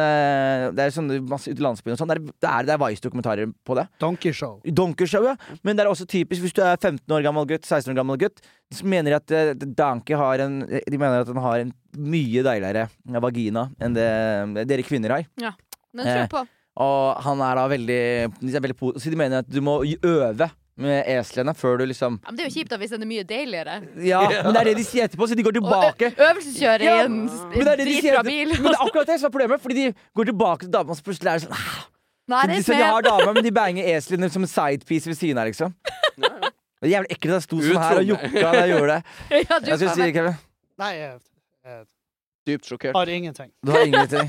Speaker 2: det er sånne masse ute i landsbyen og sånn. Det er, det er, det er Vice-dokumentarer på det.
Speaker 3: Donkeyshow.
Speaker 2: Donkey-show, ja. Men det er også typisk hvis du er 15 år gammel gutt, 16 år gammel gutt, så mener de at eh, Donkey har en eh, De mener at han har en mye deiligere vagina enn det eh, dere kvinner har.
Speaker 1: Den
Speaker 2: Eh.
Speaker 1: tror jeg på.
Speaker 2: Og han er da veldig, de er veldig po- Så de mener at du må øve med eslene før du liksom
Speaker 1: Ja, men det er jo kjipt da hvis den er mye deiligere.
Speaker 2: Ja, men det er det de sier etterpå, så de går
Speaker 1: Og
Speaker 2: tilbake.
Speaker 1: ø- Øvelseskjøre i
Speaker 2: Ja,
Speaker 1: en s-
Speaker 2: Men det er det de sier
Speaker 1: dritbra bil.
Speaker 2: Men det er akkurat det som er problemet, fordi de går tilbake til dama, og så plutselig er det sånn ah,
Speaker 1: Nei,
Speaker 2: Så
Speaker 1: det
Speaker 2: de,
Speaker 1: er
Speaker 2: så de har
Speaker 1: med.
Speaker 2: damer, men de banger eslene som en sidepiece ved siden av, liksom. Det er jævlig ekkelt at jeg sto sånn her og
Speaker 5: Utro.
Speaker 2: jokka da jeg gjorde det.
Speaker 1: Ja, du
Speaker 2: Jeg skulle
Speaker 1: kan
Speaker 2: si,
Speaker 1: være-
Speaker 2: Kevin,
Speaker 3: Nei, jeg, jeg
Speaker 5: Dypt sjokkert.
Speaker 3: har ingenting.
Speaker 2: du har ingenting.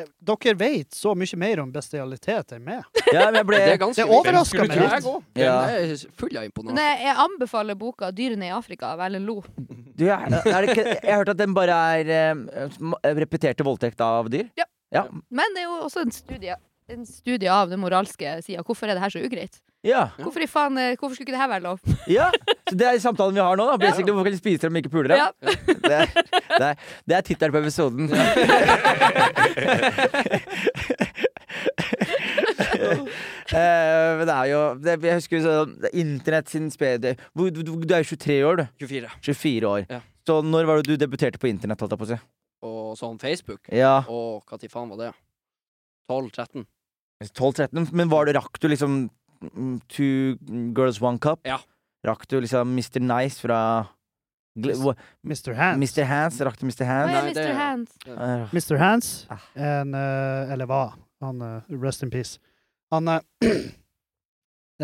Speaker 3: Eh, Dere vet så mye mer om bestialitet enn meg.
Speaker 2: Ja, men jeg ble
Speaker 5: Det er ganske
Speaker 3: Det overrasker
Speaker 5: vilt.
Speaker 3: meg
Speaker 5: Skulle tro
Speaker 3: litt.
Speaker 5: jeg også.
Speaker 2: Ja.
Speaker 5: Jeg er full av
Speaker 1: Men
Speaker 5: imponasjon.
Speaker 1: jeg, jeg anbefaler boka 'Dyrene i Afrika' av Erlend Lo.
Speaker 2: du, jeg, er det ikke, jeg har hørt at den bare er eh, repeterte voldtekt av dyr.
Speaker 1: Ja.
Speaker 2: Ja.
Speaker 1: Men det er jo også en studie, en studie av den moralske sida. Hvorfor er det her så ugreit?
Speaker 2: Ja.
Speaker 1: Hvorfor, i faen, eh, hvorfor skulle ikke det her være lov?
Speaker 2: ja. Så det er samtalen vi har nå, da. Basically, Hvorfor kan de spise dem, men ikke puler dem?
Speaker 1: Ja.
Speaker 2: Det er, det er, det er tittelen på episoden. Eh, Men det er jo det, Jeg husker jo sånn det er Internett sin spede du, du, du er jo 23 år, du.
Speaker 5: 24.
Speaker 2: 24 år.
Speaker 5: Ja.
Speaker 2: Så når var det du debuterte på internett? Holdt jeg på å si?
Speaker 5: Og sånn Facebook.
Speaker 2: Ja,
Speaker 5: Og hva til faen var det? 12-13?
Speaker 2: 12-13. Men var det, rakk du liksom mm, Two Girls One Cup?
Speaker 5: Ja.
Speaker 2: Rakk du liksom Mr. Nice fra Gl- hva-
Speaker 3: Mr. Hands.
Speaker 2: Mr. Hands? Rakk du Mr.
Speaker 1: Hva
Speaker 2: Hands?
Speaker 1: er
Speaker 5: Nei, det
Speaker 1: Mr.
Speaker 5: er-
Speaker 1: Hands?
Speaker 2: Eh,
Speaker 3: Mr. Hands,
Speaker 2: Ah.
Speaker 3: en, eh, eller hva, han eh, Rest in peace. Han er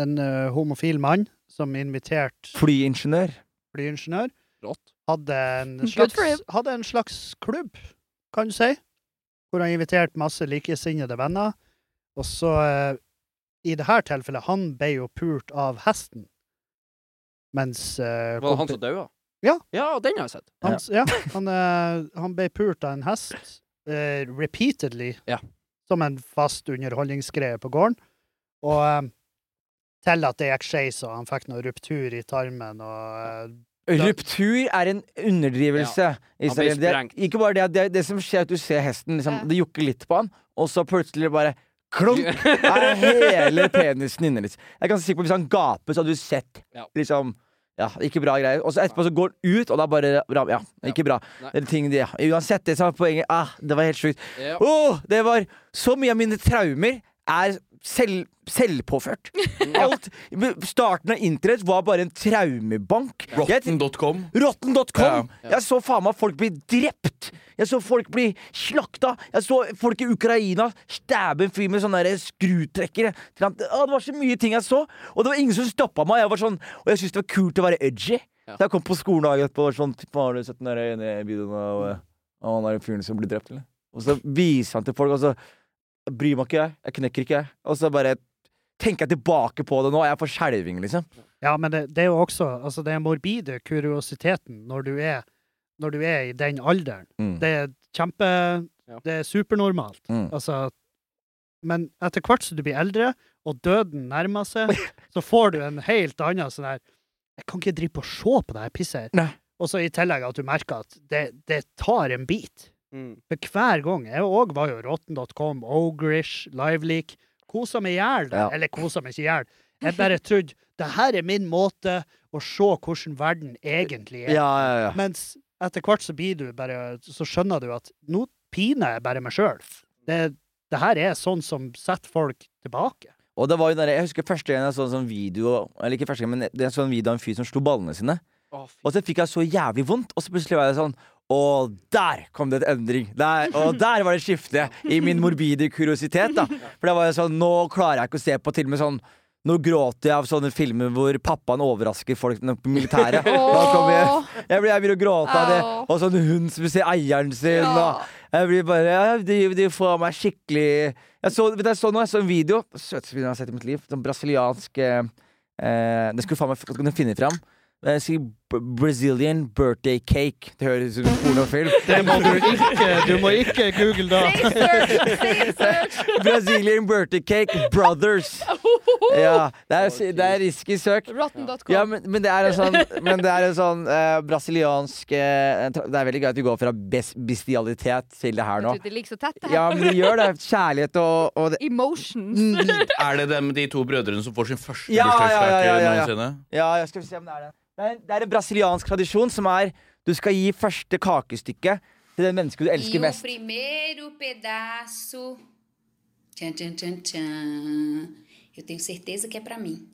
Speaker 3: en eh, homofil mann som inviterte
Speaker 2: Flyingeniør.
Speaker 3: flyingeniør.
Speaker 5: Rått.
Speaker 3: Hadde en
Speaker 1: Good for him.
Speaker 3: slags, hadde en slags klubb, kan du si, hvor han inviterte masse likesinnede venner. Og så, eh, i det her tilfellet, han ble jo pult av hesten. Mens eh,
Speaker 5: Var det han
Speaker 3: kompi-
Speaker 5: som daua?
Speaker 3: Ja.
Speaker 5: ja, den har jeg sett.
Speaker 3: Han, ja, han, eh, han ble pult av en hest eh, repeatedly
Speaker 5: Ja.
Speaker 3: som en fast underholdningsgreie på gården. Og eh, til at det gikk skeis, og han fikk noe ruptur i tarmen og eh,
Speaker 2: Ruptur er en underdrivelse.
Speaker 5: Han blir
Speaker 2: Israel. Det,
Speaker 5: sprengt.
Speaker 2: ikke bare det, det, det som skjer, er at du ser hesten, liksom,
Speaker 1: Ja.
Speaker 2: det jukker litt på han, og så plutselig bare klunk! Er hele penisen inne. Liksom. Jeg er ganske sikker på at Hvis han gaper, så hadde du sett
Speaker 5: Ja.
Speaker 2: liksom ja, ikke bra greier. Og så etterpå så går han ut, og da bare ram- Ja, ikke bra.
Speaker 5: Nei.
Speaker 2: Det er ting, de- ja. Uansett, det som er poenget ah, Det var helt sjukt.
Speaker 5: Ja.
Speaker 2: Åh, det var så mye av mine traumer er selv, selvpåført. Alt, starten av internett var bare en traumebank. Jeg-
Speaker 4: Rotten.com.
Speaker 2: Rotten.com!
Speaker 4: Ja.
Speaker 2: Jeg så faen meg folk bli drept! Jeg så folk bli slakta! Jeg så folk i Ukraina stabbe en fyr med sånne der skrutrekkere. Til han, Å, det var så mye ting jeg så, og det var ingen som stoppa meg. Jeg var sånn, og jeg syntes det var kult å være edgy.
Speaker 5: Ja.
Speaker 2: Da jeg kom på skolen dagen etterpå, var det sånn «Fy faen, Har du sett den der ene videoen av eh, av han der fyren som ble drept, eller? Og så viser han til folk, og så bryr meg ikke jeg. Jeg knekker ikke, jeg. Og så bare tenker jeg tilbake på det nå. Jeg får skjelving, liksom.
Speaker 3: Ja, men det, det er jo også altså den morbide kuriositeten når du er, når du er i den alderen.
Speaker 2: Mm.
Speaker 3: Det er kjempe
Speaker 5: Ja.
Speaker 3: Det er supernormalt.
Speaker 2: Mm.
Speaker 3: Altså Men etter hvert som du blir eldre, og døden nærmer seg, så får du en helt annen sånn her Jeg kan ikke drive på og se på det her pisset her.
Speaker 2: Nei.
Speaker 3: Og så i tillegg at du merker at det, det tar en bit. For hver gang Jeg òg var jo rotten.com, ogrish, liveleak. Kosa meg i hjel.
Speaker 2: Ja.
Speaker 3: Eller kosa meg ikke i hjel. Jeg bare trodde det her er min måte å se hvordan verden egentlig er.
Speaker 2: Ja, ja, ja.
Speaker 3: Mens etter hvert så blir du bare Så skjønner du at nå piner jeg bare meg sjøl. Det, det her er sånn som setter folk tilbake.
Speaker 2: Og det var jo den der, Jeg husker første gang jeg så en sånn video Eller ikke første gang, men jeg så en sånn video av en fyr som slo ballene sine. Og så fikk jeg så jævlig vondt, og så plutselig var jeg sånn og der kom det en endring! Der, og der var det skifte i min morbide kuriositet. da For det var jo sånn, nå klarer jeg ikke å se på til og med sånn Nå gråter jeg av sånne filmer hvor pappaen overrasker folk på militæret. Da kommer jeg, jeg, blir, jeg blir å gråte av det. Og sånn hund som ser eieren sin.
Speaker 1: Ja.
Speaker 2: Og jeg blir bare ja, de, de får meg skikkelig Jeg så, vet du, jeg så nå jeg så en video. Søteste videoen jeg har sett i mitt liv. Sånn brasiliansk eh, eh, Det skulle faen meg kunne finne fram. Eh, Si b- Brazilian birthday cake. Det høres ut som en pornofilm.
Speaker 3: Det må du ikke, du må ikke google da.
Speaker 2: Brazilian birthday cake brothers. Ja, det er, det er risky søk.
Speaker 1: Rotten.com.
Speaker 2: Ja, men, men det er en sånn, men det er en sånn eh, brasiliansk eh, tra- Det er veldig gøy at vi går fra bes- bestialitet til det her nå.
Speaker 1: Det ligger så tett, det her.
Speaker 2: Ja, men vi gjør det. Kjærlighet og, og det.
Speaker 1: Emotions.
Speaker 4: Er det dem, de to brødrene som får sin første
Speaker 2: Ja, ja,
Speaker 4: bursdagskake
Speaker 2: ja, ja, ja, ja.
Speaker 4: noensinne?
Speaker 2: Ja, jeg skal vi se om det er det. Det er, det er en brasiliansk tradisjon som er du skal gi første kakestykke til det mennesket du elsker mest.
Speaker 7: primeiro pedaço. Tchan, tchan, tchan, tchan. Eu tenho certeza que é pra mim.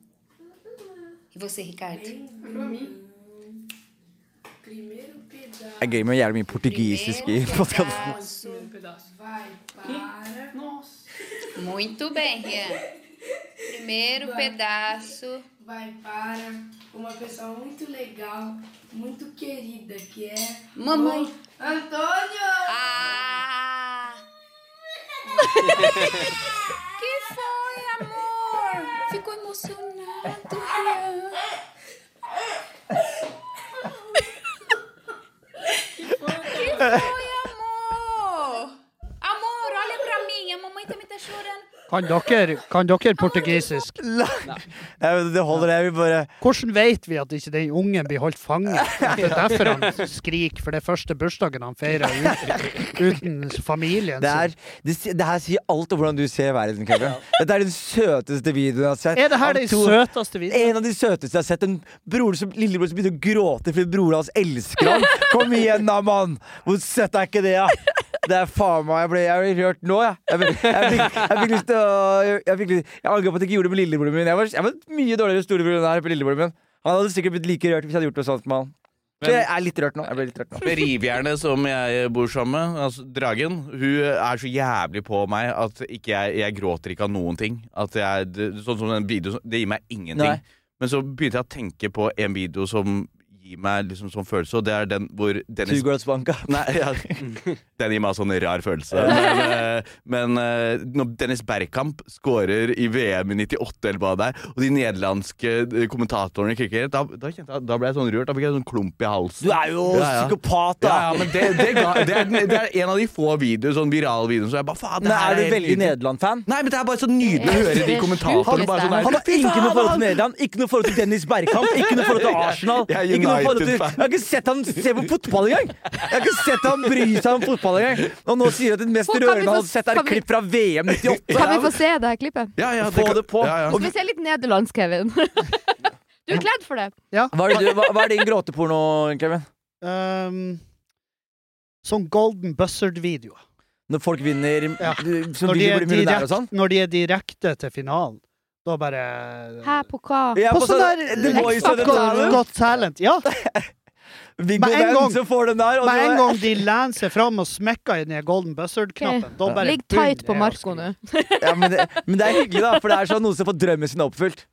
Speaker 7: E você, Ricardo?
Speaker 2: Det er gøy med jævlig mye portugisisk i podkasten.
Speaker 7: Muito bem, Rian. Primeiro pedaço.
Speaker 8: vai para uma pessoa muito legal, muito querida, que é
Speaker 7: Mamãe.
Speaker 8: Antônio!
Speaker 7: Ah! que foi, amor? Ficou emocionado, Rian. que foi, amor? Amor, olha pra mim. A mamãe também tá chorando.
Speaker 3: Kan dere, kan dere portugisisk?
Speaker 2: Nei, men Det holder, jeg vil bare
Speaker 3: Hvordan vet vi at ikke den ungen blir holdt fanget? At det er derfor han skriker, for det er første bursdagen han feirer uten, uten familien
Speaker 2: Det,
Speaker 3: sin.
Speaker 2: er, det, si- det her sier alt om hvordan du ser verden, Kevin. Dette er den søteste videoen jeg har sett.
Speaker 3: Er det her
Speaker 2: Av
Speaker 3: den
Speaker 2: to-
Speaker 3: søteste videoen?
Speaker 2: En av de søteste jeg har sett. En bror som, lillebror som begynte å gråte fordi broren hans elsker ham. Kom igjen, da, mann! Hvor søtt er ikke det, da? Det er faen meg Jeg ble, jeg ble rørt nå, jeg. Jeg, ble, jeg, fikk, jeg fikk lyst til å Jeg, jeg, fikk lyst- jeg angrer på at jeg ikke gjorde det med lillebroren min. Jeg var, jeg var mye dårligere storebror enn jeg er på lillebroren min. Han hadde sikkert blitt like rørt hvis jeg hadde gjort noe sånt med han. Så jeg er litt rørt nå. Jeg ble litt rørt nå.
Speaker 4: Med Rivjernet som jeg bor sammen med, altså dragen, hun er så jævlig på meg at ikke jeg, jeg gråter ikke av noen ting. At jeg, det, sånn som den videoen, det gir meg ingenting.
Speaker 2: Nei.
Speaker 4: Men så begynte jeg å tenke på en video som gir meg liksom sånn følelse, og det er den hvor
Speaker 2: Two
Speaker 4: Dennis
Speaker 2: girls banka.
Speaker 4: Nei, ja. Den gir meg sånn rar følelse. Men, eh, men eh, når Dennis Bergkamp scorer i VM i 98, eller hva det er, og de nederlandske eh, kommentatorene kicker, da, da, kjente jeg- da ble jeg sånn rørt. Da fikk jeg sånn klump i halsen.
Speaker 2: Du er jo
Speaker 4: Ja, ja.
Speaker 2: psykopat, da!
Speaker 4: Ja, ja, men det, det, ga, det, er, den- det er en av de få videoer, sånn virale videoer, så jeg bare faen,
Speaker 2: men
Speaker 4: det her
Speaker 2: er du
Speaker 4: helt
Speaker 2: veldig
Speaker 4: nydelig.
Speaker 2: Nederland-fan?
Speaker 4: Nei, men det er bare så nydelig å
Speaker 1: Jeg
Speaker 4: høre de
Speaker 1: synes
Speaker 4: kommentatorene bare sånn
Speaker 1: det er
Speaker 4: der,
Speaker 2: Han har
Speaker 4: fy
Speaker 2: ikke noe
Speaker 4: faen,
Speaker 2: forhold til
Speaker 4: han-
Speaker 2: Nederland, ikke noe forhold til Dennis Bergkamp, ikke noe forhold til Arsenal.
Speaker 4: Jeg er
Speaker 2: Ikke noe forhold til, jeg
Speaker 4: United-fan.
Speaker 2: har ikke sett han se på fotball engang! Jeg har ikke sett han bry seg om fotball engang. Og nå sier han at det mest
Speaker 1: Kan vi
Speaker 2: rørende han
Speaker 1: få-
Speaker 2: har sett, er et
Speaker 1: kan vi-
Speaker 2: klipp fra VM 98.
Speaker 1: Kan vi få se det her klippet?
Speaker 4: Ja, ja,
Speaker 2: Få
Speaker 4: kan-
Speaker 2: det på.
Speaker 4: Ja, ja.
Speaker 1: Skal vi se litt nederlandsk, Kevin? Du er kledd for det.
Speaker 2: Hva er, det du, hva, hva er din gråteporno, Kevin?
Speaker 3: Um, sånn Golden Buzzard-video.
Speaker 2: Når folk vinner
Speaker 3: Ja.
Speaker 2: du- Som
Speaker 3: Når
Speaker 2: vil
Speaker 3: de, er
Speaker 2: bli millionærer og
Speaker 3: direkte,
Speaker 2: sånn.
Speaker 3: når de er direkte til finalen, da bare
Speaker 1: Hæ, på hva?
Speaker 2: Ja,
Speaker 3: På sånn der
Speaker 2: The Voice og The
Speaker 3: Got-
Speaker 2: Talent.
Speaker 3: Got Talent. Ja,
Speaker 2: Viggo
Speaker 3: Med en
Speaker 2: Venn
Speaker 3: gang-
Speaker 2: som får den der. og
Speaker 3: med
Speaker 2: så-
Speaker 3: en gang de lener seg fram og smekker inn i golden buzzard-knappen, da bare
Speaker 1: Ligg tight på
Speaker 3: begynner jeg å
Speaker 1: Marco nå.
Speaker 2: ja, men, det, men det er hyggelig, da, for det er sånn noen som får drømmen sin oppfylt.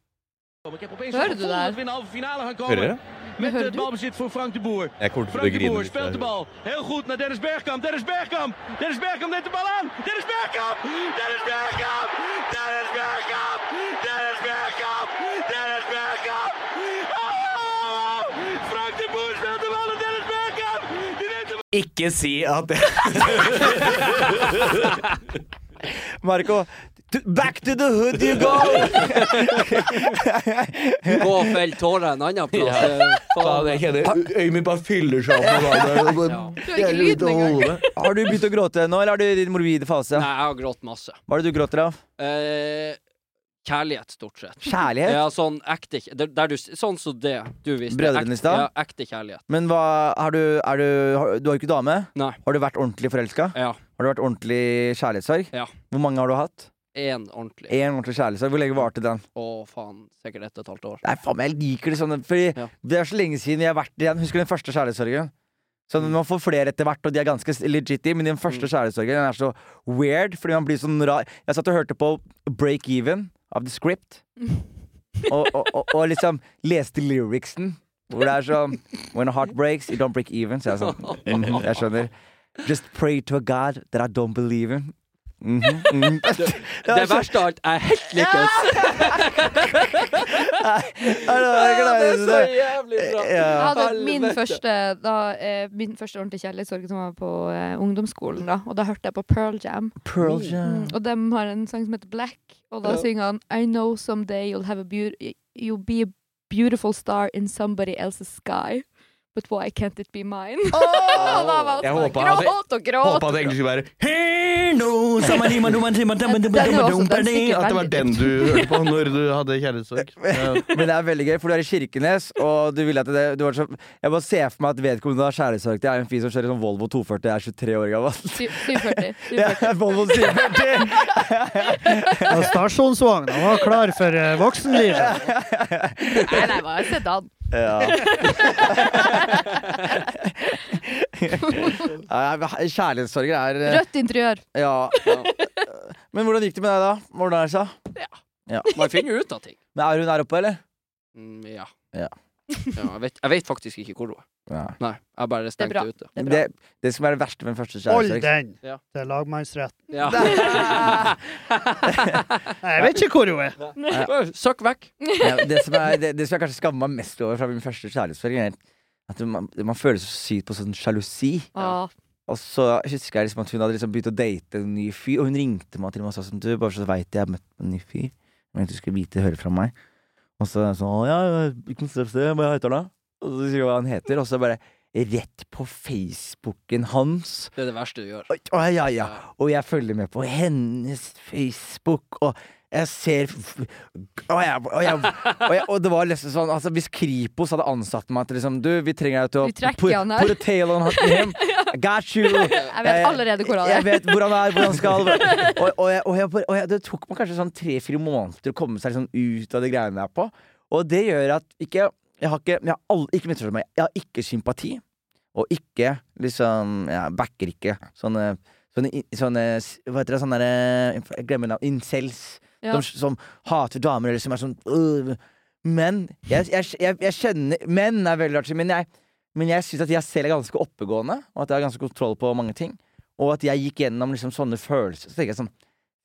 Speaker 1: Hører du der?
Speaker 5: Winnen halve finale gaan komen.
Speaker 4: Hører dere?
Speaker 5: Met
Speaker 1: Hører
Speaker 5: het
Speaker 1: du?
Speaker 5: balbezit voor Frank de Boer.
Speaker 4: Jeg kommer til å
Speaker 5: Frank de
Speaker 4: grine
Speaker 5: Boer
Speaker 4: litt.
Speaker 5: speelt de
Speaker 4: der.
Speaker 5: bal. Heel goed naar Dennis Bergkamp. Dennis Bergkamp. Dennis Bergkamp neemt de bal aan. Dennis Bergkamp. Dennis Bergkamp. Dennis Bergkamp. Dennis Bergkamp. Dennis Bergkamp. Oh! Frank de Boer speelt de bal naar Dennis Bergkamp. Die neemt de
Speaker 9: Ikke si at
Speaker 2: Marco, to, back to the hood you go!
Speaker 5: bal. Gå fel tårer en annen plass. Eh,
Speaker 4: Faen, jeg kjenner Øyet mitt bare fyller seg opp med vann.
Speaker 1: Du har ikke lyden engang.
Speaker 2: Har du begynt å gråte nå, eller er du i din morbide fase?
Speaker 5: Nei, jeg har grått masse.
Speaker 2: Hva er det du gråter av?
Speaker 5: Eh, kjærlighet, stort sett.
Speaker 2: Kjærlighet?
Speaker 5: Ja, sånn ekte kj- der, der du, s- Sånn som det du viste.
Speaker 2: Brødrene i
Speaker 5: Ekte-
Speaker 2: stad?
Speaker 5: Ja, ekte kjærlighet.
Speaker 2: Men hva har du, er du har, Du har jo ikke dame?
Speaker 5: Nei.
Speaker 2: Har du vært ordentlig forelska?
Speaker 5: Ja.
Speaker 2: Har du vært ordentlig kjærlighetssorg?
Speaker 5: Ja.
Speaker 2: Hvor mange har du hatt?
Speaker 5: Én ordentlig.
Speaker 2: Én ordentlig kjærlighetssorg. Hvor lenge varte den?
Speaker 5: Å, faen. Sikkert ett og et halvt år.
Speaker 2: Nei, faen, jeg liker det sånn, fordi
Speaker 5: Ja.
Speaker 2: det er så lenge siden jeg har vært igjen. Husker du den første kjærlighetssorgen? Sånn, Man får flere etter hvert, og de er ganske s- legit, men den
Speaker 5: Mm.
Speaker 2: første kjærlighetssorgen den er så weird. Fordi man blir sånn rar Jeg satt og hørte på Break Even av The Script. Og, og, og, og liksom leste lyricsen, hvor det er sånn When a heart breaks, you don't break even. Så jeg er sånn mhm, Jeg skjønner. Just pray to a god that I don't believe in. Mhm, mhm.
Speaker 5: Det verste av alt er helt likens!
Speaker 2: Ja, det er
Speaker 5: så
Speaker 2: så-
Speaker 5: jævlig
Speaker 1: Jeg
Speaker 2: Ja.
Speaker 1: hadde min første, da, eh, min første ordentlige kjærlighetssorg som var på eh, ungdomsskolen. Da, og da hørte jeg på Pearl Jam.
Speaker 2: Pearl Jam.
Speaker 4: Mm.
Speaker 1: Og de har en sang som heter Black, og da synger han I know someday you'll have a beauty You'll be a beautiful star in somebody else's sky. But why can't it be mine? Og da var
Speaker 4: Jeg
Speaker 1: han sånn,
Speaker 4: håper at-
Speaker 1: gråt og gråt.
Speaker 4: Håpa at det egentlig skulle være At det var den
Speaker 1: Nei,
Speaker 4: du hørte på når du hadde kjærlighetssorg.
Speaker 2: Men det er veldig gøy, for du er i Kirkenes, og du vil at det du var så, Jeg bare ser for meg at vedkommende har kjærlighetssorg til er en fyr som kjører sånn Volvo 240, er 23 år gammel. Det er Volvo 740!
Speaker 3: skrike. Og Stasjonsvogna var klar for eh, voksenlivet.
Speaker 1: nei, hva har jeg sett han?
Speaker 2: Ja. Nei, men Kjærlighetssorger er eh,
Speaker 1: Rødt interiør.
Speaker 2: Ja. Men hvordan gikk det med deg, da? Hvordan er det seg?
Speaker 5: Man finner jo ut av ting.
Speaker 2: Men Er hun der oppe, eller?
Speaker 5: Mm, ja.
Speaker 2: Ja.
Speaker 5: Ja, jeg, vet, jeg vet faktisk ikke hvor hun er.
Speaker 2: Ja.
Speaker 5: Nei, jeg bare
Speaker 1: er
Speaker 5: stengte
Speaker 1: bra.
Speaker 5: ute.
Speaker 1: Det er
Speaker 2: Det,
Speaker 1: bra.
Speaker 2: det som er det verste med en første
Speaker 3: Hold
Speaker 2: kjærlighetssorg
Speaker 3: den
Speaker 5: Ja.
Speaker 3: til lagmannsretten.
Speaker 5: Ja.
Speaker 3: Nei, Jeg vet ikke hvor hun er.
Speaker 5: Søkk vekk.
Speaker 2: ja, det, som er, det, det som jeg kanskje skammer meg mest over fra min første kjærlighetssorg, er at man, man føler så sykt på sånn sjalusi.
Speaker 1: Åh,
Speaker 2: Og så husker jeg liksom at hun hadde liksom begynt å date en ny fyr, og hun ringte meg til meg og sa sånn Du, bare så veit jeg, jeg har møtt en ny fyr. Jeg mente du skulle vite høre fra meg. Og så er jeg sånn Å ja, hvilken steps det? Hva heter han da? Og så sier jeg hva han heter, og så bare rett på Facebooken hans.
Speaker 5: Det er det verste du gjør.
Speaker 2: Oi, Å ja, ja. Og jeg følger med på hennes Facebook, og jeg ser f- og, jeg, og, jeg, og, jeg, og det var liksom sånn altså, Hvis Kripos hadde ansatt meg til liksom Du, vi trenger deg til å
Speaker 1: Vi trekker
Speaker 2: put,
Speaker 1: han her.
Speaker 2: put a tail on him. I got you. Eh,
Speaker 1: Jeg vet allerede hvor han
Speaker 2: Jeg
Speaker 1: er.
Speaker 2: vet hvor han er, hvor han skal. Og, og, jeg, og, jeg, bare- og jeg, det tok meg kanskje sånn tre-fire måneder å komme seg liksom ut av de greiene jeg er på. Og det gjør at ikke Jeg har ikke, jeg har all, ikke misforstå meg, jeg har ikke sympati. Og ikke liksom Jeg backer ikke sånne Sånne, i- sånne s- Hva heter det? Sånne derre- Jeg glemmer navn. Incels.
Speaker 1: Ja.
Speaker 2: Som, som hater damer, eller som er sånn øh. Men jeg, jeg, jeg, jeg kjenner Menn er veldig artig, men jeg, men jeg syns at jeg selv er ganske oppegående, og at jeg har ganske kontroll på mange ting. Og at jeg gikk gjennom liksom sånne følelser. Så tenker jeg sånn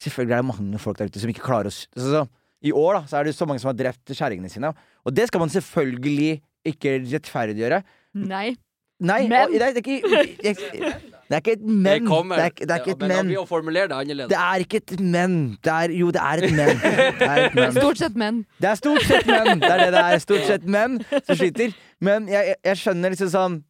Speaker 2: Selvfølgelig er det mange folk der ute som ikke klarer å s- så, så, I år da, så er det så mange som har drept kjerringene sine. Og det skal man selvfølgelig ikke rettferdiggjøre.
Speaker 1: Nei.
Speaker 2: Nei,
Speaker 1: Men.
Speaker 2: og- nei, det, er ikke, jeg, det er ikke et men.
Speaker 5: Det kommer.
Speaker 2: Det er, ikke- det er ikke
Speaker 5: Ja,
Speaker 2: et
Speaker 5: men da
Speaker 2: men.
Speaker 5: blir å formulere det annerledes.
Speaker 2: Det er ikke et men. Det er, jo, det er et men. Det er, et men.
Speaker 1: Stort sett menn.
Speaker 2: det er stort sett men. Det er det det er. Stort sett men som sliter. Men jeg, jeg- jeg skjønner liksom sånn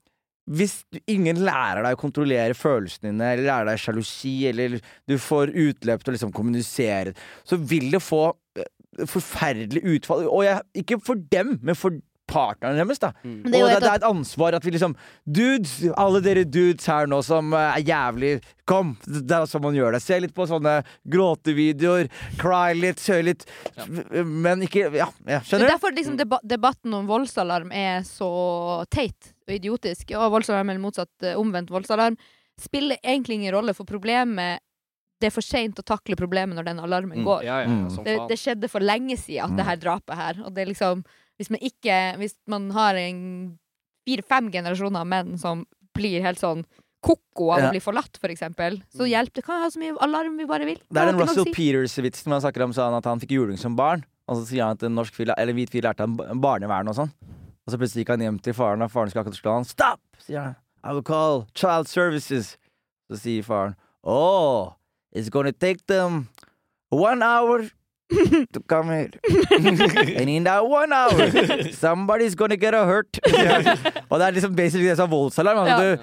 Speaker 2: Hvis du- ingen lærer deg å kontrollere følelsene dine, eller lærer deg sjalusi, eller du får utløp til å liksom kommunisere, så vil det få eh, forferdelig utfall. Og jeg, ikke for dem, men for partneren deres. da
Speaker 1: Men det er jo
Speaker 2: Og
Speaker 1: et-
Speaker 2: det, det er et ansvar at vi liksom Dudes, alle dere dudes her nå som eh, er jævlig Kom! Det er sånn man gjør det. Se litt på sånne gråtevideoer. Cry litt, kjøre litt. Men ikke Ja, ja
Speaker 1: Det er
Speaker 2: skjønner du? Mm.
Speaker 1: derfor liksom, deba debatten om voldsalarm er så teit og idiotisk. Og voldsalarm eller motsatt, eh, omvendt voldsalarm spiller egentlig ingen rolle, for problemet Det er for seint å takle problemet når den alarmen går.
Speaker 5: Ja, ja, ja,
Speaker 2: Mm.
Speaker 5: som
Speaker 1: det,
Speaker 5: faen.
Speaker 1: det skjedde for lenge siden at det her drapet her. Og det er liksom Hvis man ikke Hvis man har en fire-fem generasjoner av menn som blir helt sånn koko av
Speaker 2: Ja. Mm.
Speaker 1: å bli forlatt, for eksempel, så hjelp det. Kan vi ha så mye alarm vi bare vil.
Speaker 2: Det er den
Speaker 1: har ikke noe å
Speaker 2: Russell
Speaker 1: si.
Speaker 2: Peters-vitsen hvor han snakker om sånn at han fikk juling som barn. Og så sier han at en norsk fyr, eller hvit fyr lærte han ba- barnevern og sånn. Og så plutselig gikk han hjem til faren, og faren skulle akkurat slå han. Stopp! sier han. I will call child services. Så sier faren Oh, it's gonna take them one hour to come here. And in that one hour, somebody's gonna get a hurt. og det er liksom basically det som er voldsalarm. Altså,
Speaker 1: Ja.
Speaker 2: du,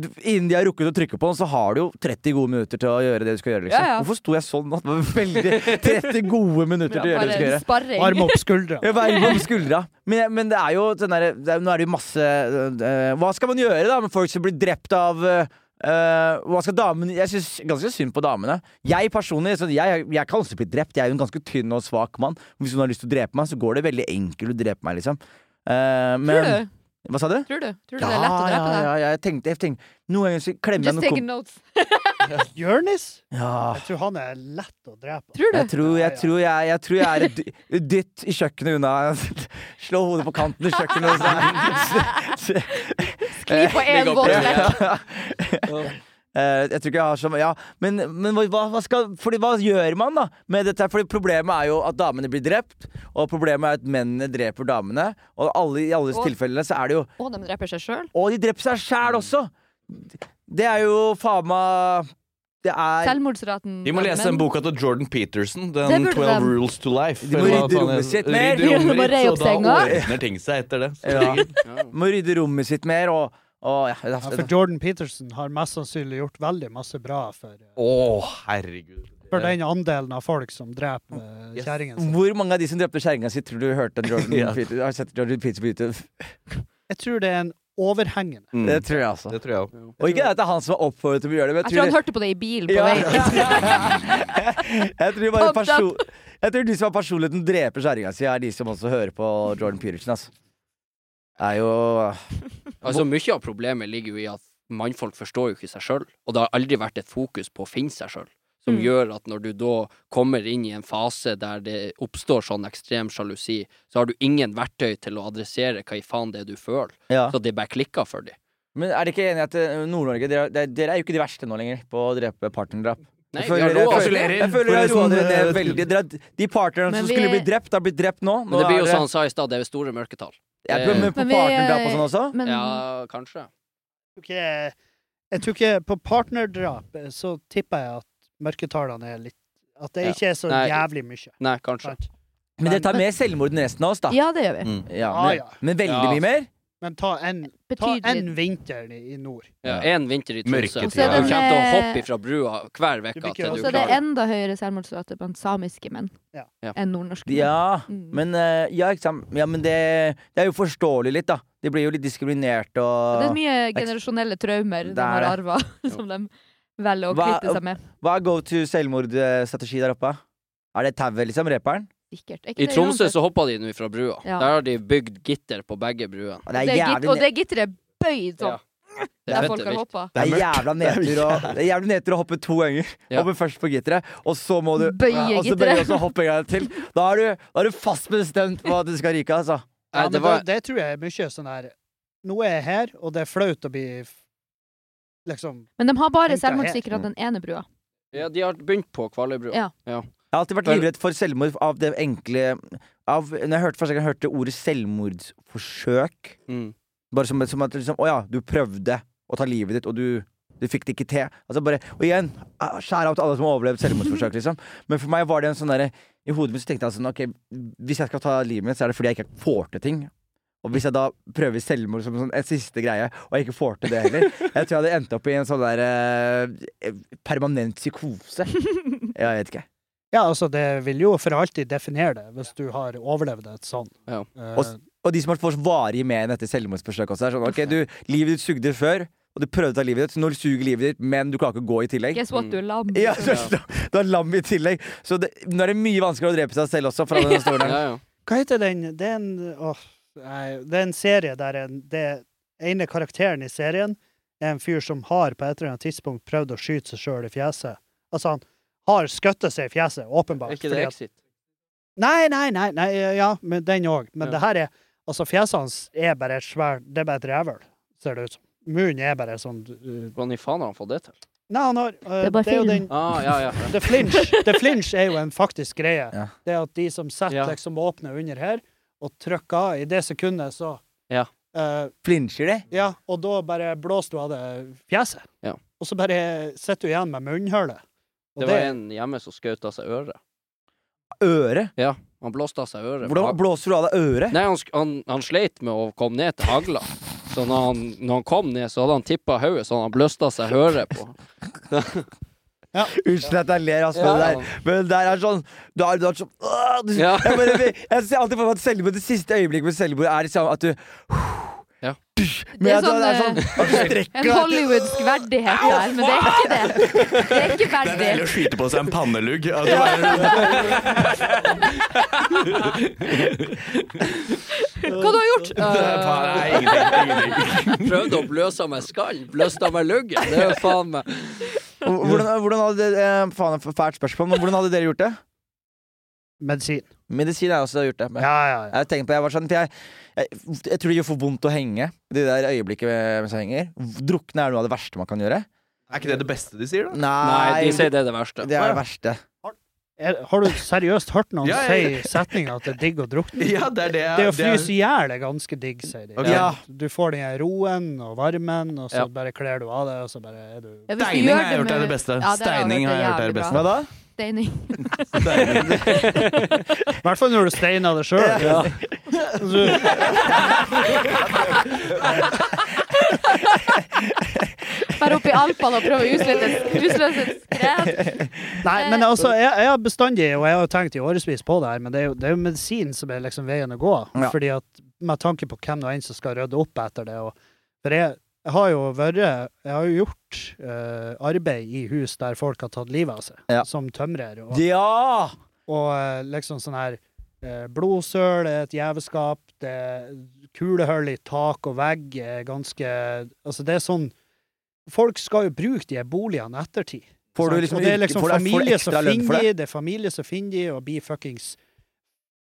Speaker 2: du- Innen de har rukket å trykke på den, så har du jo 30 gode minutter til å gjøre det du skal gjøre. Liksom.
Speaker 1: Ja, ja.
Speaker 2: Hvorfor sto jeg sånn? nå? Det var Veldig 30 gode minutter til å gjøre det du skal
Speaker 1: Bare
Speaker 2: gjøre.
Speaker 1: sparring.
Speaker 3: Arm opp skuldra.
Speaker 2: Ja, Verv om skuldra. Men, men det er jo den derre det er- Nå er det jo masse øh, øh, Hva skal man gjøre da med folk som blir drept av øh, øh, hva skal damene Jeg syns ganske synd på damene. Jeg personlig så jeg, jeg kan også bli drept. Jeg er jo en ganske tynn og svak mann. Hvis hun har lyst til å drepe meg, så går det veldig enkelt å drepe meg, liksom. Eh,
Speaker 1: Tror
Speaker 2: men
Speaker 1: du?
Speaker 2: Hva sa du?
Speaker 1: Tror du? Tror du det er lett å drepe
Speaker 2: ja,
Speaker 1: deg?
Speaker 2: ja, ja, jeg tenkte, jeg tenkte Noen ganger så klemmer jeg
Speaker 1: Just
Speaker 2: noen
Speaker 1: taking
Speaker 2: kom...
Speaker 1: notes.
Speaker 3: Jonis?
Speaker 2: Ja.
Speaker 3: Jeg tror han er lett å drepe.
Speaker 1: Tror du?
Speaker 2: Jeg Ah. tror jeg, tror jeg, jeg, tror jeg er et dy- dytt i kjøkkenet unna. Slå hodet på kanten i kjøkkenet. og så-
Speaker 1: Kli på én
Speaker 4: Ligge opp
Speaker 1: våt
Speaker 4: i-
Speaker 1: lekk.
Speaker 2: Eh, jeg tror ikke jeg har så Ja, men, men hva, hva, skal, fordi, hva gjør man da med dette? her? Fordi Problemet er jo at damene blir drept, og problemet er at mennene dreper damene. Og alle, i alle
Speaker 1: Og-
Speaker 2: tilfellene så er det jo
Speaker 1: Å, de dreper seg sjøl?
Speaker 2: Og de dreper seg sjæl også! Det er jo faen meg Det er
Speaker 1: Selvmordsraten
Speaker 4: De må
Speaker 1: blant
Speaker 4: lese
Speaker 1: menn.
Speaker 4: den boka til Jordan Peterson,
Speaker 1: Det
Speaker 4: den
Speaker 1: burde
Speaker 4: 12
Speaker 1: de.
Speaker 4: Rules to Life.
Speaker 2: De må
Speaker 4: Eller hva
Speaker 2: rydde
Speaker 4: faen
Speaker 2: rommet
Speaker 4: det-
Speaker 2: sitt mer.
Speaker 4: Rydde
Speaker 1: De må
Speaker 4: rommet
Speaker 1: reie opp
Speaker 4: ditt, så da
Speaker 1: senga.
Speaker 4: ordner ting seg etter det. Så
Speaker 2: Ja.
Speaker 4: det-
Speaker 2: Må rydde rommet sitt mer og, og ja,
Speaker 3: Ja, for Jordan Peterson har mest sannsynlig gjort veldig masse bra for,
Speaker 4: Å, herregud.
Speaker 3: for den andelen av folk som dreper eh,
Speaker 4: Yes.
Speaker 3: kjerringen sin.
Speaker 2: Hvor mange av de som drepte kjerringa si, tror du hørte om Jordan
Speaker 4: Ja.
Speaker 2: Peter- har sett Jordan Peterson på YouTube?
Speaker 3: Jeg tror det er en overhengende.
Speaker 4: Mm.
Speaker 2: Det tror jeg, altså.
Speaker 4: Det tror jeg også.
Speaker 2: Og ikke at det er han som har oppfordret til å gjøre det, men jeg
Speaker 1: Jeg tror han
Speaker 2: tror,
Speaker 1: hørte på det i bilen på
Speaker 2: Ja.
Speaker 1: vei.
Speaker 2: jeg tror, bare
Speaker 1: Pumped up.
Speaker 2: perso- jeg tror de som har personligheten dreper kjerringa si, er de som også hører på Jordan Peterson, altså. Det er jo
Speaker 5: Altså, mye av problemet ligger jo i at mannfolk forstår jo ikke seg sjøl, og det har aldri vært et fokus på å finne seg sjøl, som
Speaker 1: Mm.
Speaker 5: gjør at når du da kommer inn i en fase der det oppstår sånn ekstrem sjalusi, så har du ingen verktøy til å adressere hva i faen det er du føler,
Speaker 2: ja.
Speaker 5: så det bare klikker for dem.
Speaker 2: Men er dere ikke enige at eh, Nord-Norge dere, dere- dere er jo ikke de verste nå lenger på å drepe partnerdrap?
Speaker 5: Nei,
Speaker 2: Jeg
Speaker 5: vi
Speaker 2: føler-
Speaker 5: har råd.
Speaker 2: jeg føler- Jeg føler jeg roer dere ned veldig. Dere har- De partnerne
Speaker 1: Men
Speaker 2: som
Speaker 1: vi-
Speaker 2: skulle bli drept, har blitt drept nå. nå
Speaker 5: Men det blir
Speaker 2: er
Speaker 5: jo sånn- som han sa i stad, det er store mørketall.
Speaker 2: Jeg prøver med på
Speaker 1: Men vi-
Speaker 2: partnerdrap og sånn også.
Speaker 1: Men
Speaker 5: Ja, kanskje.
Speaker 3: Jeg tror ikke- Jeg tror ikke På partnerdrap eh, så tipper jeg at mørketallene er litt At det
Speaker 5: Ja.
Speaker 3: ikke er så
Speaker 5: Nei.
Speaker 3: jævlig mye.
Speaker 5: Nei, kanskje.
Speaker 3: Sant?
Speaker 2: Men dere tar med selvmord enn resten av oss, da. Mm.
Speaker 1: ja, det gjør vi.
Speaker 2: Ja,
Speaker 3: Ah,
Speaker 2: men,
Speaker 3: ja.
Speaker 2: men veldig
Speaker 5: Ja.
Speaker 2: mye mer.
Speaker 3: Men ta en, ta en
Speaker 1: Betydelig.
Speaker 3: vinter i i nord.
Speaker 5: Ja, en vinter i Tromsø.
Speaker 4: Mørketid.
Speaker 5: Du kommer til å
Speaker 1: Og så er det-
Speaker 5: hoppe ifra brua hver
Speaker 3: Du
Speaker 5: uke
Speaker 3: blir ikke
Speaker 5: til
Speaker 3: rørt.
Speaker 1: Og
Speaker 5: du
Speaker 1: sånn. så er det
Speaker 5: klarer det.
Speaker 1: enda høyere selvmordsrate blant samiske menn
Speaker 3: Ja.
Speaker 5: Ja.
Speaker 1: enn nordnorske. menn.
Speaker 2: Ja,
Speaker 1: Mm.
Speaker 2: men, eh, ja, ikke sant? ja, men det, det er jo forståelig litt, da. De blir jo litt diskriminert
Speaker 1: Det er
Speaker 2: og
Speaker 1: mye generasjonelle traumer
Speaker 2: Det
Speaker 1: de har
Speaker 2: er
Speaker 1: arva, som de velger å
Speaker 2: Hva-
Speaker 1: kvitte seg med.
Speaker 2: Hva er go to selvmordstrategi der oppe? Er det tauet, liksom? Reperen?
Speaker 1: Sikkert. Er ikke
Speaker 5: I
Speaker 1: det
Speaker 5: Tromsø
Speaker 1: uansett?
Speaker 5: så hoppa de nå ifra brua.
Speaker 1: Ja.
Speaker 5: Der har de bygd gitter på begge bruene.
Speaker 2: Det er
Speaker 1: Det er git-
Speaker 2: jævlig,
Speaker 1: Og
Speaker 2: ne-
Speaker 1: det gitteret er bøyd sånn,
Speaker 5: Ja. Det er
Speaker 1: der
Speaker 5: fett
Speaker 1: folk har
Speaker 5: vilt.
Speaker 1: hoppa.
Speaker 2: det er jævla nedtur å, det er jævlig nedtur å hoppe to ganger.
Speaker 5: Ja.
Speaker 2: Hoppe først på gitteret, og så må du
Speaker 1: Bøye
Speaker 2: ja, og så bøye,
Speaker 1: gitteret.
Speaker 2: og så hoppe en gang til. Da er du, da er du fast bestemt på at du skal ryke, altså.
Speaker 3: Ja,
Speaker 5: Nei,
Speaker 3: men
Speaker 5: det var-
Speaker 3: da, det tror jeg er mye sånn her Nå er jeg her, og det er flaut å bli f- Liksom
Speaker 1: Men de har bare
Speaker 3: Tenk deg her.
Speaker 1: selvmordssikra den ene brua.
Speaker 5: Ja, de har begynt på Kvaløybrua.
Speaker 1: Ja.
Speaker 2: Jeg har alltid vært
Speaker 5: Vel-
Speaker 2: livredd for selvmord av det enkle av, Når jeg hørte første gang jeg hørte ordet selvmordsforsøk
Speaker 5: Mm.
Speaker 2: Bare som, som at liksom, å ja, du prøvde å ta livet ditt, og du, du fikk det ikke til. Altså bare, og igjen, ah, skjær av til alle som har overlevd selvmordsforsøk, liksom. Men for meg var det en sånn derre I hodet mitt så tenkte jeg sånn, ok, hvis jeg skal ta livet mitt, så er det fordi jeg ikke får til ting. Og hvis jeg da prøver selvmord som sånn, en siste greie, og jeg ikke får til det heller Jeg tror jeg hadde endt opp i en sånn der eh, permanent psykose. Jeg vet ikke.
Speaker 3: Ja, altså, det vil jo for alltid definere det, hvis du har overlevd et sånn.
Speaker 5: Ja.
Speaker 3: Eh,
Speaker 2: Og s- Og de som har fått varig men etter selvmordsforsøk også. Er sånn, ok, du, Livet ditt sugde før, og du prøvde å ta livet ditt, så nå suger livet ditt, men du klarer ikke å gå i tillegg.
Speaker 1: Guess what, du er lam.
Speaker 2: Ja, du, er- du er lam i tillegg. Så det, nå er det mye vanskeligere å drepe seg selv også. For alle som står der.
Speaker 5: Ja, ja.
Speaker 3: Hva heter den? Det er en, åh, nei, det er en serie der en, det ene karakteren i serien er en fyr som har på et eller annet tidspunkt prøvd å skyte seg sjøl i fjeset. Altså, han har skutt seg i fjeset,
Speaker 5: Er
Speaker 3: åpenbart.
Speaker 5: ikke det
Speaker 3: fordi at-
Speaker 5: Exit?
Speaker 3: Nei, nei, nei, nei, ja, men den òg. Men
Speaker 5: Ja.
Speaker 3: det her er Altså, fjeset hans er bare et svært Det er bare et revel, ser det ut som. Munnen er bare sånn uh,
Speaker 5: Hvordan i faen har han fått det til?
Speaker 3: Nei, han har eh,
Speaker 1: Det er bare
Speaker 3: jo
Speaker 1: film.
Speaker 3: den
Speaker 5: Ah, ja, ja.
Speaker 3: The flinch, the flinch er jo en faktisk greie.
Speaker 2: Ja.
Speaker 3: Det at de som setter
Speaker 5: Ja.
Speaker 3: liksom åpne under her, og trykker av i det sekundet, så
Speaker 5: Ja.
Speaker 3: Eh,
Speaker 2: Flinsjer de?
Speaker 3: ja, og da bare blåser du av det fjeset.
Speaker 5: Ja.
Speaker 3: Og så bare sitter du igjen med munnhullet. Og
Speaker 5: Det
Speaker 3: det,
Speaker 5: var en hjemme som skjøt av seg øret.
Speaker 2: Øret?
Speaker 5: Ja, han blåste av seg øret.
Speaker 2: Hvordan blåser du av deg øret?
Speaker 5: Nei, han, sk- han, han sleit med å komme ned til hagla. Så når han, når han kom ned, så hadde han tippa hodet, så han bløsta seg høret på.
Speaker 2: Unnskyld at jeg ler, ass, men
Speaker 5: Ja.
Speaker 2: det der, men det der er sånn Du har, du har sånn Åh, du,
Speaker 5: Ja.
Speaker 2: jeg, bare, jeg ser alltid for meg at selvmord, det siste øyeblikket med selvmord er liksom at du
Speaker 5: Ja.
Speaker 2: Men
Speaker 1: Det er
Speaker 2: at det er
Speaker 1: sånn,
Speaker 2: sånn at du strekker
Speaker 1: En
Speaker 2: deg.
Speaker 1: hollywoodsk verdighet der, men det er ikke det. Det er ikke
Speaker 4: Det er
Speaker 1: verdig.
Speaker 4: deilig å skyte på seg en pannelugg. Altså, At det bare,
Speaker 1: Hva du har gjort?
Speaker 4: nei, ingenting, ingenting.
Speaker 5: Prøvde å bløse av meg skallen, bløste av meg luggen. Det er jo faen meg
Speaker 2: Hvordan, hvordan hadde eh, Faen, det er fælt spørsmål, men hvordan hadde dere gjort det?
Speaker 3: Medisin.
Speaker 2: Medisin har jeg også gjort det.
Speaker 3: Ja, ja, ja.
Speaker 2: Jeg tenkte på, jeg var sånn, for jeg, jeg, jeg tror det gjør for vondt å henge. Det der øyeblikket mens jeg henger. Drukne er noe av det verste man kan gjøre.
Speaker 4: Er ikke det det beste de sier, da?
Speaker 5: Nei, de sier det er det verste.
Speaker 2: det er det verste.
Speaker 3: Er, har du seriøst hørt noen
Speaker 4: Ja, ja,
Speaker 3: si setninga at det er digg å drukne?
Speaker 4: Ja, det er det.
Speaker 3: Det å
Speaker 4: det er-
Speaker 3: fryse i hjel er ganske digg, sier de.
Speaker 4: Ok.
Speaker 2: Ja.
Speaker 3: Du får den her roen og varmen, og så
Speaker 5: Ja.
Speaker 3: bare kler du av det, og så bare er du
Speaker 1: Ja, hvis du
Speaker 4: Steining
Speaker 1: gjør
Speaker 4: har jeg gjort
Speaker 1: med-
Speaker 4: det er det beste.
Speaker 1: Ja, det har jeg
Speaker 4: Steining
Speaker 1: hørt
Speaker 4: har jeg gjort det er
Speaker 1: jævlig
Speaker 4: det beste.
Speaker 1: bra.
Speaker 2: Hva da?
Speaker 1: Steining.
Speaker 3: I hvert fall når du steiner det sjøl.
Speaker 1: Bare opp i Alpene og prøve å utløse et- utløse et skred.
Speaker 3: Nei, men altså, jeg, jeg har bestandig, og jeg har jo tenkt i årevis på det her, men det er jo, det er jo medisin som er liksom veien å gå.
Speaker 2: Ja.
Speaker 3: Fordi at med tanke på hvem nå enn som skal rydde opp etter det, og for jeg, jeg har jo vært Jeg har jo gjort eh, arbeid i hus der folk har tatt livet av seg,
Speaker 2: Ja.
Speaker 3: som tømrer, og,
Speaker 2: Ja!
Speaker 3: og eh, liksom sånn her eh, Blodsøl er et gjeveskap, det er kulehull i tak og vegg er ganske Altså, det er sånn Folk skal jo bruke de her boligene ettertid.
Speaker 2: Får du
Speaker 3: Sant?
Speaker 2: liksom,
Speaker 3: og det er liksom
Speaker 2: får du- får du
Speaker 3: familie
Speaker 2: ekstra
Speaker 3: som
Speaker 2: lønn for
Speaker 3: finner
Speaker 2: det?
Speaker 3: de, det er familie som finner de, og blir fuckings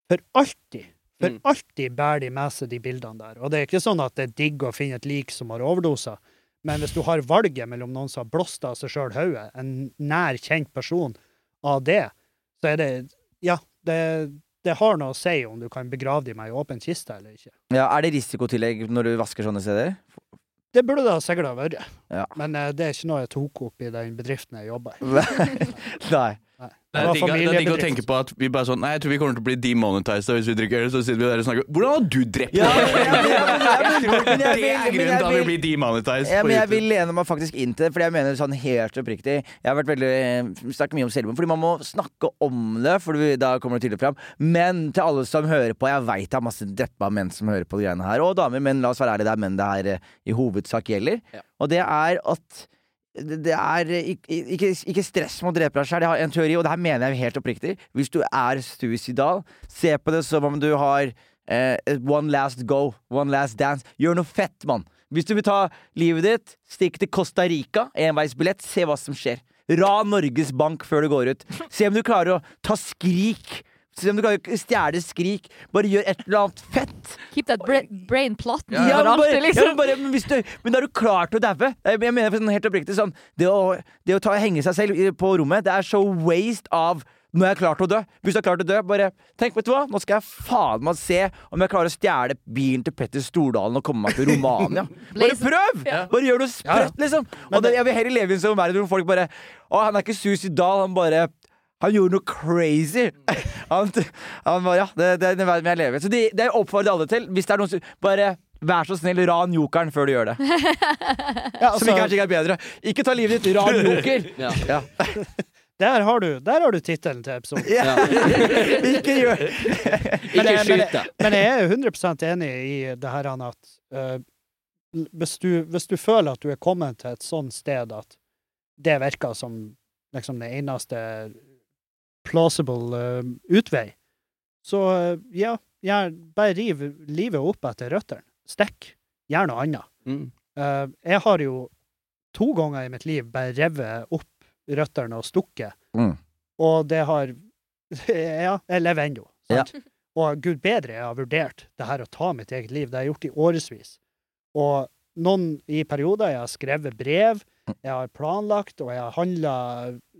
Speaker 3: For alltid. For
Speaker 5: Mm.
Speaker 3: alltid bærer de med seg de bildene der. Og det er ikke sånn at det er digg å finne et lik som har overdosa, men hvis du har valget mellom noen som har blåst av seg sjøl hodet, en nær kjent person, av det, så er det Ja, det, det har noe å si om du kan begrave dem i åpen kiste eller ikke.
Speaker 2: Ja, er det risikotillegg når du vasker sånne steder?
Speaker 3: Det burde det sikkert ha vært,
Speaker 2: Ja.
Speaker 3: men eh, det er ikke noe jeg tok opp i den bedriften jeg jobber i.
Speaker 2: Nei.
Speaker 3: Nei.
Speaker 4: Det er, digg, det er digg å tenke på at vi bare sånn Nei, jeg tror vi kommer til å bli demonetized hvis vi drikker øl. Så sitter vi der og snakker Hvordan har du drept
Speaker 2: Ja,
Speaker 4: meg?
Speaker 2: men jeg vil- men jeg vil-
Speaker 4: Det er
Speaker 2: men jeg
Speaker 4: grunnen til at vi
Speaker 2: vil-
Speaker 4: blir demonetized.
Speaker 2: Ja,
Speaker 4: på
Speaker 2: men jeg
Speaker 4: YouTube.
Speaker 2: vil lene meg faktisk inn til det, fordi jeg mener sånn helt oppriktig Jeg har vært veldig, eh, snakket mye om selvmord, fordi man må snakke om det, for du- da kommer det tydelig fram. Men til alle som hører på, jeg veit det er masse deppa menn som hører på de greiene her, og damer, men la oss være ærlige, det er menn det her eh, i hovedsak gjelder.
Speaker 5: Ja.
Speaker 2: Og det er at det det er eh, ik- ikke, ikke stress med å drepe deg sjøl. Jeg har en teori, og det her mener jeg helt oppriktig. Hvis du er suicidal, se på det som om du har eh, et one last go, one last dance. Gjør noe fett, mann. Hvis du vil ta livet ditt, stikk til Costa Rica, enveisbillett, se hva som skjer. Ran Norges Bank før du går ut. Se om du klarer å ta skrik. Se om du klarer å stjele skrik. Bare gjør et eller annet fett.
Speaker 1: Keep that bra brain plotting
Speaker 2: Ja,
Speaker 1: for
Speaker 2: men, bare,
Speaker 1: alltid,
Speaker 2: ja, men,
Speaker 1: liksom.
Speaker 2: bare, men, hvis du, men da er du klar til å daue. Jeg jeg mener sånn helt oppriktig sånn Det å, det å ta, henge seg selv i- på rommet, det er så waste av når jeg er klar til å dø. Hvis du er klar til å dø, bare tenk, vet du hva, nå skal jeg faen meg se om jeg klarer å stjele bilen til Petter Stordalen og komme meg til Romania. Bare
Speaker 1: Blaze.
Speaker 2: prøv! Bare gjør noe sprøtt, liksom. Og det, jeg vil heller leve i en sånn verden hvor folk bare Å, han er ikke suicidal, han bare han gjorde noe crazy!
Speaker 3: Mm.
Speaker 2: Han, han bare, ja, det, det er den verden jeg lever i. Så det, det oppfordrer alle til. Hvis det er noen som Bare vær så snill, ran jokeren før du gjør det.
Speaker 3: Ja,
Speaker 2: Som ikke kanskje
Speaker 3: altså,
Speaker 2: ikke er bedre. Ikke ta livet ditt, ran joker!
Speaker 5: Ja.
Speaker 2: Ja.
Speaker 3: Der har du, der har du tittelen til episoden.
Speaker 2: Ja. Ikke gjør
Speaker 3: Men
Speaker 5: Ikke
Speaker 3: jeg- men jeg-
Speaker 5: skyt deg.
Speaker 3: Men jeg er 100 enig i det her Anna, at eh, hvis, du, hvis du føler at du er kommet til et sånt sted at det virker som liksom det eneste plausible eh, utvei, så eh, ja, gjør, bare riv livet opp etter røttene. Stikk. Gjør noe annet.
Speaker 4: Mm.
Speaker 3: Eh, jeg har jo to ganger i mitt liv bare revet opp røttene og stukket,
Speaker 2: Mm.
Speaker 3: og det har Ja, jeg lever ennå. sant? Og gud bedre, jeg har vurdert det her å ta mitt eget liv. Det har jeg gjort i årevis. Og noen i perioder Jeg har skrevet brev, jeg har planlagt, og jeg har handla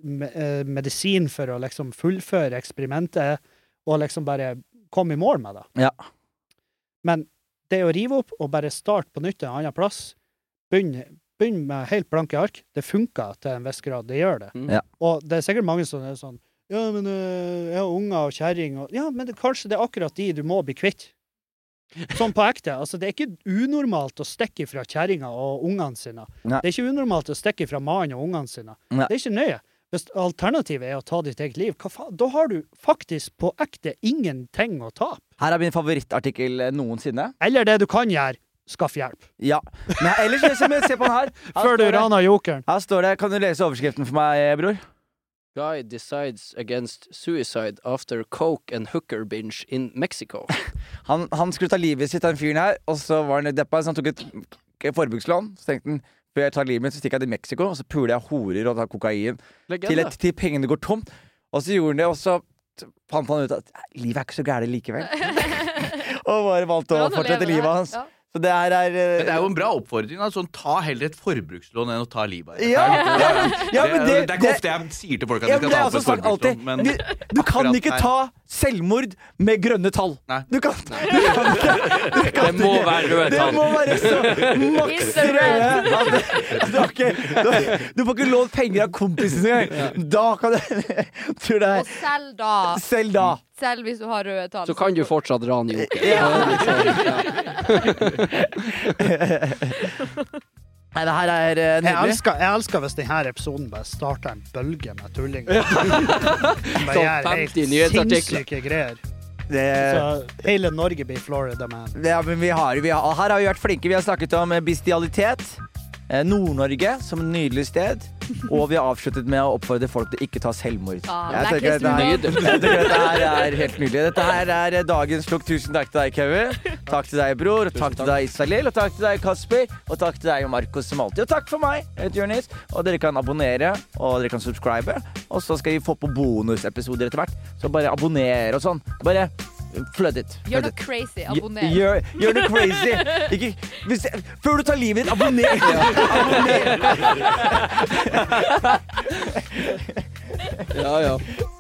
Speaker 3: me eh, medisin for å liksom fullføre eksperimentet og liksom bare komme i mål med det.
Speaker 2: Ja.
Speaker 3: Men det å rive opp og bare starte på nytt en annen plass, begynne begynn med helt blanke ark, det funker til en viss grad. Det gjør det.
Speaker 4: Mm.
Speaker 2: Ja.
Speaker 3: Og det er sikkert mange som er sånn ja, men øh, jeg har unger og kjerring og Ja, men det, kanskje det er akkurat de du må bli kvitt. Sånn på ekte. Altså, det er ikke unormalt å stikke fra kjerringa og ungene sine.
Speaker 2: Nei.
Speaker 3: Det er ikke unormalt å stikke fra mannen og ungene sine.
Speaker 2: Nei.
Speaker 3: Det er ikke nøye. Hvis alternativet er å ta ditt eget liv, hva faen? Da har du faktisk på ekte ingenting å tape.
Speaker 2: Her er min favorittartikkel eh, noensinne.
Speaker 3: Eller det du kan gjøre, skaff hjelp.
Speaker 2: Ja. Men ellers, se se på den her. Her
Speaker 3: Før du
Speaker 2: står det-
Speaker 3: raner jokeren.
Speaker 2: Her står det Kan du lese overskriften for meg, bror?
Speaker 5: Guy decides against suicide after coke and hooker binge in Mexico.
Speaker 2: Han, han skulle ta livet sitt, den fyren her, og så var han litt deppa, så han tok et et forbrukslån. Så tenkte han før jeg tar livet mitt, så stikker jeg til Mexico, og så puler jeg horer og tar kokain. Til,
Speaker 5: Legende.
Speaker 2: et, til pengene går tomt. Og så gjorde han det, og så t- fant han ut at livet er ikke så gærent likevel. og bare valgte å fortsette livet hans.
Speaker 1: Ja.
Speaker 2: Så det her er eh,
Speaker 4: Men det er jo en bra oppfordring. da, Sånn, ta heller et forbrukslån enn å ta livet av deg.
Speaker 2: Ja,
Speaker 4: Det er litt-
Speaker 2: ja, men
Speaker 4: det,
Speaker 2: det-
Speaker 4: det er
Speaker 2: det-
Speaker 4: ikke ofte jeg sier til folk at
Speaker 2: ja,
Speaker 4: de
Speaker 2: men
Speaker 4: skal
Speaker 2: det er
Speaker 4: ta opp
Speaker 2: også
Speaker 4: et
Speaker 2: sagt alltid
Speaker 4: forbrukslån, men
Speaker 2: du, du kan
Speaker 4: akkurat
Speaker 2: ikke
Speaker 4: her-
Speaker 2: ta selvmord med grønne tall.
Speaker 4: Nei.
Speaker 2: Du kan, du kan, du kan ikke
Speaker 5: Det må være røde
Speaker 2: Det
Speaker 5: tall.
Speaker 2: må være så maks
Speaker 1: It's a
Speaker 2: røde at at du, har ikke- du, du får ikke lånt penger av kompisen engang. Da kan du Tror det er
Speaker 1: Og selv da,
Speaker 2: Selv da.
Speaker 1: selv hvis du har røde tall
Speaker 5: Så kan du fortsatt rane Joker.
Speaker 2: Nei, det her er eh,
Speaker 3: Jeg
Speaker 2: nydelig.
Speaker 3: elsker, jeg elsker hvis denne episoden bare starter en bølge med tullinger. Som bare gjør
Speaker 2: Sånn
Speaker 3: helt
Speaker 5: 50 nyhetsartikler.
Speaker 3: sinnssyke greier.
Speaker 2: Det,
Speaker 3: Så eh, hele Norge blir Florida Man.
Speaker 2: ja, men vi har, vi har, her har vi vært flinke. Vi har snakket om eh, bestialitet. eh, Nord-Norge som et nydelig sted. Og vi har avsluttet med å oppfordre folk til ikke ta selvmord.
Speaker 1: Ja,
Speaker 2: Jeg
Speaker 1: Ah, det er
Speaker 2: tenker at det er-
Speaker 5: Nydelig.
Speaker 2: Jeg tror dette her er helt nydelig. Dette her er eh, dagens slukk. Tusen takk til deg, Kevin. Takk til deg, bror. Og takk til deg, Isalill. Og takk til deg, Kasper. Og takk til deg, Markus, som alltid. Og takk for meg, jeg heter Jonis. Og dere kan abonnere, og dere kan subscribe. Og så skal vi få på bonusepisoder etter hvert. Så bare abonner og sånn. Bare flood it.
Speaker 1: Gjør
Speaker 2: Flood
Speaker 1: noe
Speaker 2: it.
Speaker 1: crazy. Abonner.
Speaker 2: Gjør, gjør noe crazy. Ikke, hvis, før du tar livet ditt, abonner! abonner.
Speaker 5: Ja, ja.